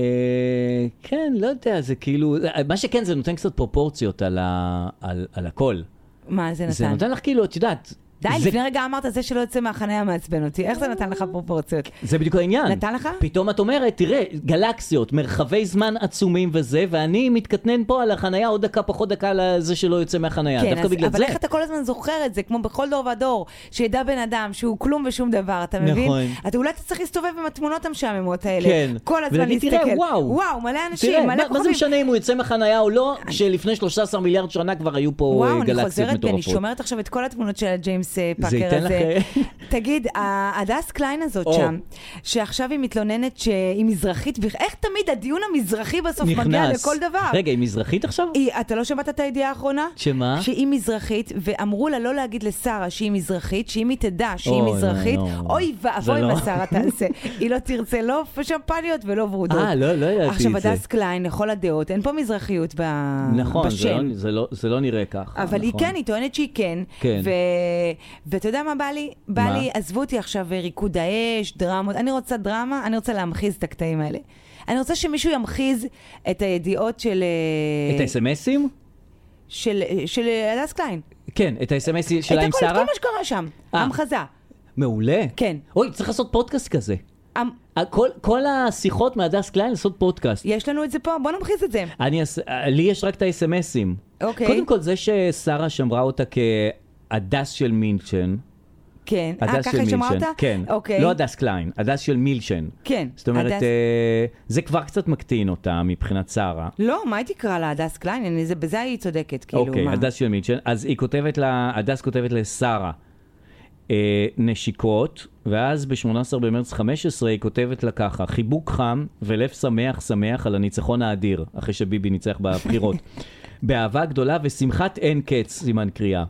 Speaker 1: כן, לא יודע, זה כאילו... מה שכן, זה נותן קצת פרופורציות על, ה... על, על הכל.
Speaker 2: מה זה
Speaker 1: זה
Speaker 2: נתן?
Speaker 1: נותן לך כאילו, את יודעת...
Speaker 2: די,
Speaker 1: זה...
Speaker 2: לפני רגע אמרת, זה שלא יוצא מהחניה מעצבן אותי. איך זה נתן לך פרופורציות?
Speaker 1: זה בדיוק העניין.
Speaker 2: נתן לך?
Speaker 1: פתאום את אומרת, תראה, גלקסיות, מרחבי זמן עצומים וזה, ואני מתקטנן פה על החנייה עוד דקה, פחות דקה על זה שלא יוצא מהחנייה.
Speaker 2: כן,
Speaker 1: אה, דווקא
Speaker 2: אז-
Speaker 1: בגלל
Speaker 2: אבל
Speaker 1: זה.
Speaker 2: איך אתה כל הזמן זוכר את זה, כמו בכל דור ודור, שידע בן אדם שהוא כלום ושום דבר, אתה מבין?
Speaker 1: נכון.
Speaker 2: אתה אולי צריך להסתובב עם התמונות המשעממות האלה.
Speaker 1: כן.
Speaker 2: כל הזמן
Speaker 1: ולהגיד,
Speaker 2: להסתכל.
Speaker 1: "תראה, וואו."
Speaker 2: וואו, מלא אנשים,
Speaker 1: תראה,
Speaker 2: מלא
Speaker 1: מה,
Speaker 2: כוכבים.
Speaker 1: מה זה משנה אם הוא יוצא מהחנייה או לא, כשלפני 13 מיליארד שנה כבר היו פה אה,
Speaker 2: וואו, אני
Speaker 1: גלקסיות
Speaker 2: חוזרת בי, אני
Speaker 1: מטורפות.
Speaker 2: שומרת עכשיו את כל התמונות של ג'יימס ג'יימס אה,
Speaker 1: זה
Speaker 2: פאקר הזה.
Speaker 1: ייתן לך-
Speaker 2: תגיד, ה- הדס קליין הזאת
Speaker 1: או.
Speaker 2: שם, שעכשיו היא מתלוננת שהיא מזרחית, בכ- איך תמיד הדיון המזרחי בסוף מגיע
Speaker 1: נכנס.
Speaker 2: לכל דבר?
Speaker 1: רגע, היא מזרחית עכשיו?
Speaker 2: היא, אתה לא שמעת את הידיעה האחרונה?
Speaker 1: שמה?
Speaker 2: שהיא מזרחית, ואמרו לה לא להגיד לשרה שהיא מזרחית, שאם היא תדע שהיא
Speaker 1: אוי,
Speaker 2: מזרחית,
Speaker 1: לא, לא.
Speaker 2: אוי
Speaker 1: זה
Speaker 2: ואבוי
Speaker 1: לא.
Speaker 2: מה שרה תעשה. היא לא תרצה לא שמפניות ולא ורודות.
Speaker 1: אה, לא, לא ידעתי
Speaker 2: עכשיו,
Speaker 1: את זה.
Speaker 2: הדס קליין, לכל הדעות, אין פה מזרחיות ב...
Speaker 1: נכון, זה
Speaker 2: בשם.
Speaker 1: לא- זה לא- זה לא נראה ככה.
Speaker 2: אבל היא
Speaker 1: נכון.
Speaker 2: כן, היא טוענת שהיא כן.
Speaker 1: כן.
Speaker 2: ו... ואתה יודע מה בא לי? בא
Speaker 1: מה?
Speaker 2: לי, עזבו אותי עכשיו אה, ריקוד האש, דרמות. אני רוצה דרמה, אני רוצה להמחיז את הקטעים האלה. אני רוצה שמישהו ימחיז את הידיעות של... אה,
Speaker 1: את האס.אם.אסים?
Speaker 2: של, אה, של הדס קליין.
Speaker 1: כן, את האס.אם.אס שלה עם
Speaker 2: את הכל, את
Speaker 1: שרה?
Speaker 2: כל מה שקרה שם.
Speaker 1: אה.
Speaker 2: המחזה.
Speaker 1: מעולה.
Speaker 2: כן.
Speaker 1: אוי, צריך לעשות פודקאסט כזה.
Speaker 2: המ-
Speaker 1: כל- כל השיחות מהדס קליין לעשות פודקאסט.
Speaker 2: יש לנו את זה פה, בוא נמחיז את זה.
Speaker 1: אני, אס- לי יש רק את האס.אם.אסים.
Speaker 2: אוקיי.
Speaker 1: קודם כל, זה ששרה שמרה אותה כהדס של מילצ'ן.
Speaker 2: כן. אה,
Speaker 1: הדס
Speaker 2: ככה
Speaker 1: של
Speaker 2: היא
Speaker 1: מילצ'ן.
Speaker 2: שמעה אותה?
Speaker 1: כן.
Speaker 2: אוקיי.
Speaker 1: לא הדס קליין, הדס של מילצ'ן.
Speaker 2: כן,
Speaker 1: זאת אומרת,
Speaker 2: הדס-
Speaker 1: אה, זה כבר קצת מקטין אותה מבחינת שרה.
Speaker 2: לא, מה היא תקרא לה? הדס קליין? אני- זה- בזה היא צודקת, כאילו.
Speaker 1: אוקיי,
Speaker 2: מה?
Speaker 1: הדס של מילצ'ן. אז היא כותבת לה, הדס כותבת לשרה. אה, נשיקות, ואז ב-18 במרץ 15 היא כותבת לה ככה, חיבוק חם ולב שמח שמח על הניצחון האדיר, אחרי שביבי ניצח בבחירות. באהבה גדולה ושמחת אין קץ, סימן קריאה.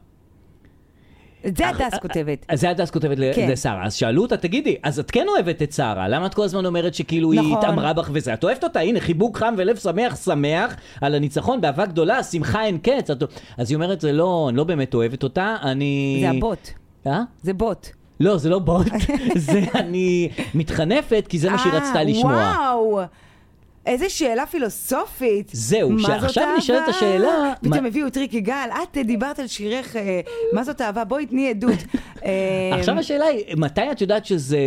Speaker 2: את
Speaker 1: אה,
Speaker 2: זה הדס כותבת.
Speaker 1: אז זה הדס כותבת ל-
Speaker 2: כן.
Speaker 1: לשרה, אז שאלו אותה, תגידי, אז את כן אוהבת את שרה, למה את כל הזמן אומרת שכאילו היא
Speaker 2: נכון.
Speaker 1: התעמרה בך וזה? את אוהבת אותה, הנה, חיבוק חם ולב שמח, שמח על הניצחון, באהבה גדולה, שמחה אין קץ. את... אז היא אומרת, זה לא, אני לא באמת אוהבת אותה, אני...
Speaker 2: זה הבוט.
Speaker 1: אה?
Speaker 2: זה בוט.
Speaker 1: לא, זה לא בוט, זה אני מתחנפת, כי זה מה שהיא
Speaker 2: אה,
Speaker 1: רצתה לשמוע.
Speaker 2: וואו! איזה שאלה פילוסופית.
Speaker 1: זהו,
Speaker 2: מה
Speaker 1: שעכשיו
Speaker 2: זאת אהבה?
Speaker 1: נשאלת השאלה-
Speaker 2: פתאום
Speaker 1: מה-
Speaker 2: הביאו את ריקי גל, את אה, דיברת על שירך, אה, מה זאת אהבה? בואי תני עדות. אה,
Speaker 1: עכשיו השאלה היא, מתי את יודעת שזה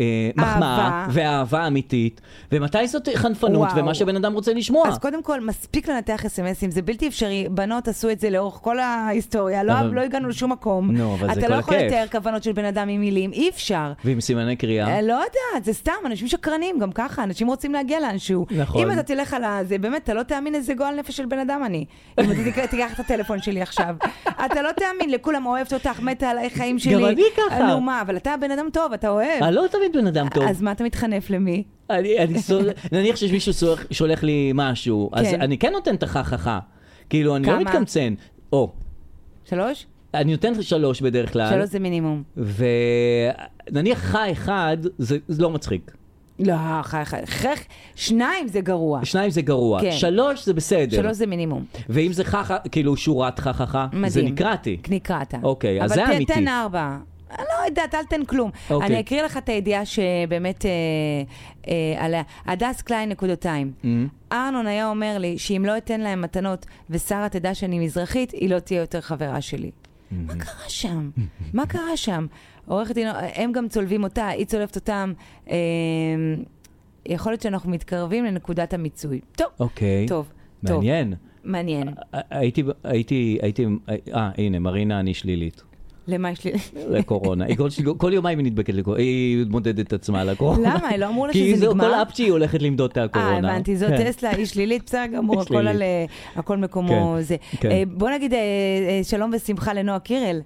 Speaker 1: אה, מחמאה
Speaker 2: אהבה.
Speaker 1: ואהבה אמיתית, ומתי זאת חנפנות
Speaker 2: וואו.
Speaker 1: ומה שבן אדם רוצה לשמוע?
Speaker 2: אז קודם כל, מספיק לנתח אס.אם.אסים, זה בלתי אפשרי. בנות עשו את זה לאורך כל ההיסטוריה, לא,
Speaker 1: אבל-
Speaker 2: לא הגענו לשום מקום.
Speaker 1: נו, אבל זה
Speaker 2: אתה
Speaker 1: כל
Speaker 2: לא יכול
Speaker 1: הכיף.
Speaker 2: לתאר כוונות של בן אדם עם מילים, אי אפשר.
Speaker 1: ועם סימני קריאה.
Speaker 2: אה, לא יודעת, זה סתם, אנשים שקרנים, גם ככה, אנשים רוצים להגיע לאנשהו.
Speaker 1: נכון.
Speaker 2: אם אתה תלך על ה... זה באמת, אתה לא תאמין איזה גועל נפש של בן אדם אני. אם אתה תיקח- תיקח את הטלפון שלי עכשיו. אתה לא תאמין, לכולם אוהבת אותך, מתה על החיים שלי.
Speaker 1: אני ככה.
Speaker 2: נו מה, אבל אתה בן אדם טוב, אתה אוהב.
Speaker 1: אני לא תמיד בן אדם טוב.
Speaker 2: כן. אז מה אתה מתחנף למי?
Speaker 1: אני, אני סול... נניח שיש מישהו שולח, שולח לי משהו, אז
Speaker 2: כן.
Speaker 1: אני כן נותן את החככה. כאילו, אני לא
Speaker 2: כמה?
Speaker 1: מתקמצן. או,
Speaker 2: שלוש?
Speaker 1: אני נותן שלוש בדרך כלל,
Speaker 2: שלוש זה מינימום.
Speaker 1: ונניח חי אחד, זה, זה לא מצחיק.
Speaker 2: לא, חייך, חייך, שניים זה גרוע.
Speaker 1: שניים זה גרוע.
Speaker 2: כן.
Speaker 1: שלוש זה בסדר.
Speaker 2: שלוש זה מינימום.
Speaker 1: ואם זה חכה, כאילו שורת חככה,
Speaker 2: מדהים.
Speaker 1: זה נקרעתי.
Speaker 2: נקרעת.
Speaker 1: אוקיי, אז זה
Speaker 2: אבל
Speaker 1: אמיתי.
Speaker 2: ת- תן ארבע. אני לא יודעת, אל תן כלום.
Speaker 1: אוקיי.
Speaker 2: אני אקריא לך את הידיעה שבאמת אה, אה, עליה. הדס קליין נקודותיים.
Speaker 1: Mm-hmm.
Speaker 2: ארנון היה אומר לי שאם לא אתן להם מתנות ושרה תדע שאני מזרחית, היא לא תהיה יותר חברה שלי.
Speaker 1: Mm-hmm.
Speaker 2: מה קרה שם? מה קרה שם? עורכת דין, הם גם צולבים אותה, היא צולבת אותם. אה, יכול להיות שאנחנו מתקרבים לנקודת המיצוי. טוב,
Speaker 1: אוקיי.
Speaker 2: טוב, טוב.
Speaker 1: מעניין.
Speaker 2: מעניין.
Speaker 1: הייתי, הייתי, הייתי, אה, הנה, מרינה אני שלילית.
Speaker 2: למה יש לי... אה,
Speaker 1: לקורונה. היא כל, שני- כל יומיים היא נדבקת לקורונה, היא מודדת את עצמה לקורונה.
Speaker 2: למה? לא אמרו לה
Speaker 1: כי
Speaker 2: שזה
Speaker 1: זה-
Speaker 2: נגמר?
Speaker 1: כל אפצ'י היא הולכת למדוד את
Speaker 2: אה,
Speaker 1: הקורונה.
Speaker 2: הבנתי, זו
Speaker 1: כן.
Speaker 2: טסלה, היא שלילית, בסדר גמור,
Speaker 1: היא
Speaker 2: הכל על...
Speaker 1: שלילית.
Speaker 2: אה, הכל מקומו
Speaker 1: כן,
Speaker 2: זה.
Speaker 1: כן.
Speaker 2: אה, בוא נגיד אה, אה, שלום ושמחה לנועה קירל.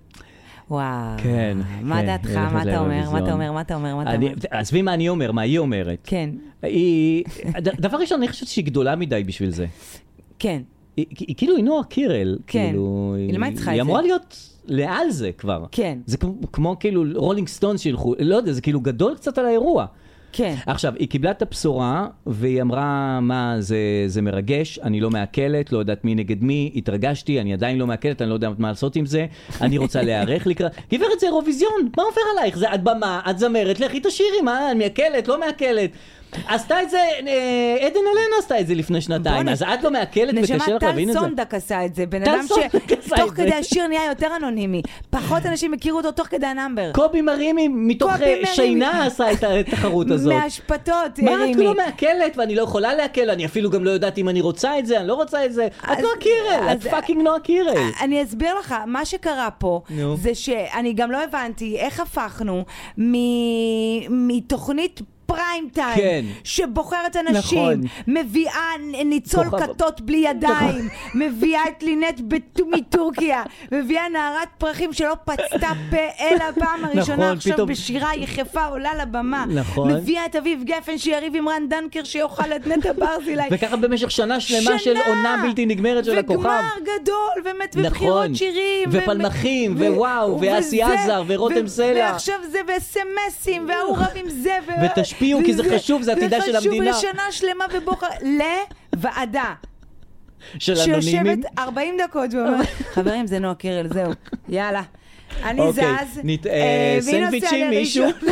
Speaker 2: וואו.
Speaker 1: כן,
Speaker 2: מה
Speaker 1: כן,
Speaker 2: דעתך?
Speaker 1: היא הולכת
Speaker 2: מה אתה אומר? מה
Speaker 1: לאירוויזיון.
Speaker 2: אתה אומר? מה אתה אומר? מה אתה
Speaker 1: אני-
Speaker 2: אומר?
Speaker 1: עזבי מה אני אומר, מה היא אומרת.
Speaker 2: כן,
Speaker 1: היא, ד- דבר ראשון, אני חושבת שהיא גדולה מדי בשביל זה.
Speaker 2: כן.
Speaker 1: היא היא כאילו, היא נועה קירל.
Speaker 2: כן.
Speaker 1: כאילו,
Speaker 2: היא- למה היא צריכה
Speaker 1: היא
Speaker 2: את זה?
Speaker 1: אמורה להיות לעל זה כבר.
Speaker 2: כן.
Speaker 1: זה כמו- כמו כאילו רולינג סטון שילכו, לא יודע, זה כאילו גדול קצת על האירוע.
Speaker 2: כן.
Speaker 1: עכשיו, היא קיבלה את הבשורה, והיא אמרה, מה, זה, זה מרגש, אני לא מעכלת, לא יודעת מי נגד מי, התרגשתי, אני עדיין לא מעכלת, אני לא יודעת מה לעשות עם זה, אני רוצה להיערך לקראת... גברת, זה אירוויזיון, מה עובר עלייך? זה את במה, את זמרת, לכי תשאירי, מה, אני מעכלת, לא מעכלת. עשתה את זה, אה, עדן אלנה עשתה את זה לפני שנתיים,
Speaker 2: בואנה.
Speaker 1: אז את לא מעכלת
Speaker 2: נשמה,
Speaker 1: וקשה לך להבין
Speaker 2: טל
Speaker 1: את זה.
Speaker 2: סונדק עשה את זה, בן
Speaker 1: טל
Speaker 2: אדם
Speaker 1: סונדק עשה
Speaker 2: שתוך
Speaker 1: את זה.
Speaker 2: כדי השיר נהיה יותר אנונימי. פחות אנשים הכירו אותו תוך כדי הנאמבר.
Speaker 1: קובי מרימי מתוך
Speaker 2: קובי
Speaker 1: אה,
Speaker 2: מרימי.
Speaker 1: שינה עשה את התחרות הזאת.
Speaker 2: מהשפתות,
Speaker 1: מה את
Speaker 2: הרימי.
Speaker 1: לא מעכלת ואני לא יכולה לעכל, אני אפילו גם לא יודעת אם אני רוצה את זה, אני לא רוצה את זה. את
Speaker 2: אז-
Speaker 1: נועה קירל, את
Speaker 2: אז- אה,
Speaker 1: פאקינג נועה קירל.
Speaker 2: אני אסביר לך, מה שקרה פה,
Speaker 1: אוקיי. נו.
Speaker 2: זה שאני גם לא הבנתי איך הפכנו מ- מתוכנית... פריים טיים,
Speaker 1: כן.
Speaker 2: שבוחרת אנשים,
Speaker 1: נכון.
Speaker 2: מביאה נ- ניצול
Speaker 1: כוכב-
Speaker 2: כתות בלי ידיים,
Speaker 1: נכון.
Speaker 2: מביאה את לינט בט- מטורקיה, מביאה נערת פרחים שלא פצתה פה אלא הפעם
Speaker 1: נכון,
Speaker 2: הראשונה עכשיו
Speaker 1: פתאום-
Speaker 2: בשירה יחפה עולה לבמה.
Speaker 1: נכון.
Speaker 2: מביאה את אביב גפן שיריב עם רן דנקר שיאכל את נטע ברזילי.
Speaker 1: וככה במשך שנה שלמה של
Speaker 2: שנה!
Speaker 1: עונה בלתי נגמרת של הכוכב.
Speaker 2: וגמר גדול, ומת ובחירות
Speaker 1: נכון.
Speaker 2: שירים.
Speaker 1: ופלמחים,
Speaker 2: ו-
Speaker 1: ווואו,
Speaker 2: וזה,
Speaker 1: ואסי עזר, ורותם
Speaker 2: ו-
Speaker 1: סלע.
Speaker 2: ועכשיו זה בסמסים, וההוא רב עם זה. ו-
Speaker 1: ותשפיעו, כי זה חשוב, זה עתידה של המדינה.
Speaker 2: זה חשוב לשנה שלמה ובוחר, לוועדה.
Speaker 1: של
Speaker 2: שיושבת
Speaker 1: אנונימים.
Speaker 2: 40 דקות ואומרת, חברים, זה נועה קירל, זהו, יאללה. אני
Speaker 1: אוקיי,
Speaker 2: זז.
Speaker 1: נת-
Speaker 2: אה,
Speaker 1: אה,
Speaker 2: מי נוסע
Speaker 1: סנדוויצ'ים, מישהו?
Speaker 2: לראשון?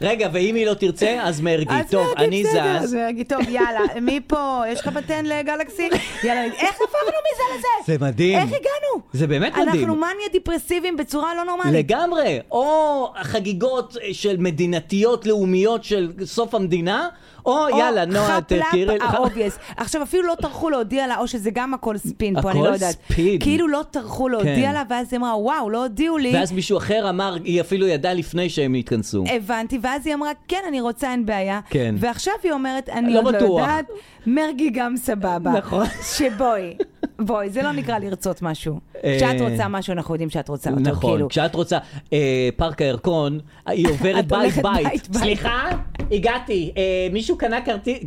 Speaker 1: רגע, ואם היא לא תרצה, אז מרגי.
Speaker 2: אז
Speaker 1: אה, טוב,
Speaker 2: מרגי,
Speaker 1: אני
Speaker 2: אה, בסדר,
Speaker 1: זז.
Speaker 2: אז מרגי, טוב, יאללה, מי פה? יש לך פטן לגלקסי? יאללה, איך הפכנו מזה לזה?
Speaker 1: זה מדהים.
Speaker 2: איך הגענו?
Speaker 1: זה באמת מדהים.
Speaker 2: אנחנו מניה דיפרסיביים בצורה לא נורמלית.
Speaker 1: לגמרי. או החגיגות אה, של מדינתיות לאומיות של סוף המדינה, או יאללה, נועה, לא תכירי
Speaker 2: לך. האובייס. עכשיו, אפילו לא טרחו להודיע לה, או שזה גם הכל ספין פה, אני
Speaker 1: הכל
Speaker 2: לא יודעת.
Speaker 1: ספין.
Speaker 2: כאילו לא טרחו להודיע
Speaker 1: כן.
Speaker 2: לה, ואז היא אמרה, וואו, לא הודיעו לי.
Speaker 1: ואז מישהו אחר אמר, היא אפילו ידעה לפני שהם התכנסו.
Speaker 2: הבנתי, ואז היא אמרה, כן, אני רוצה, אין בעיה.
Speaker 1: כן.
Speaker 2: ועכשיו היא אומרת, אני
Speaker 1: לא
Speaker 2: עוד לא
Speaker 1: בטוח.
Speaker 2: יודעת, מרגי גם סבבה.
Speaker 1: נכון.
Speaker 2: שבואי, בואי, זה לא נקרא לרצות משהו.
Speaker 1: אה,
Speaker 2: כשאת רוצה משהו, אנחנו יודעים שאת רוצה אותו,
Speaker 1: נכון,
Speaker 2: כאילו.
Speaker 1: כשאת רוצה, אה, פארק הירקון, היא עוברת
Speaker 2: את הולכת
Speaker 1: בית-בית.
Speaker 2: בית, בית.
Speaker 1: סליחה, הגעתי, אה, מישהו קנה כרטיס,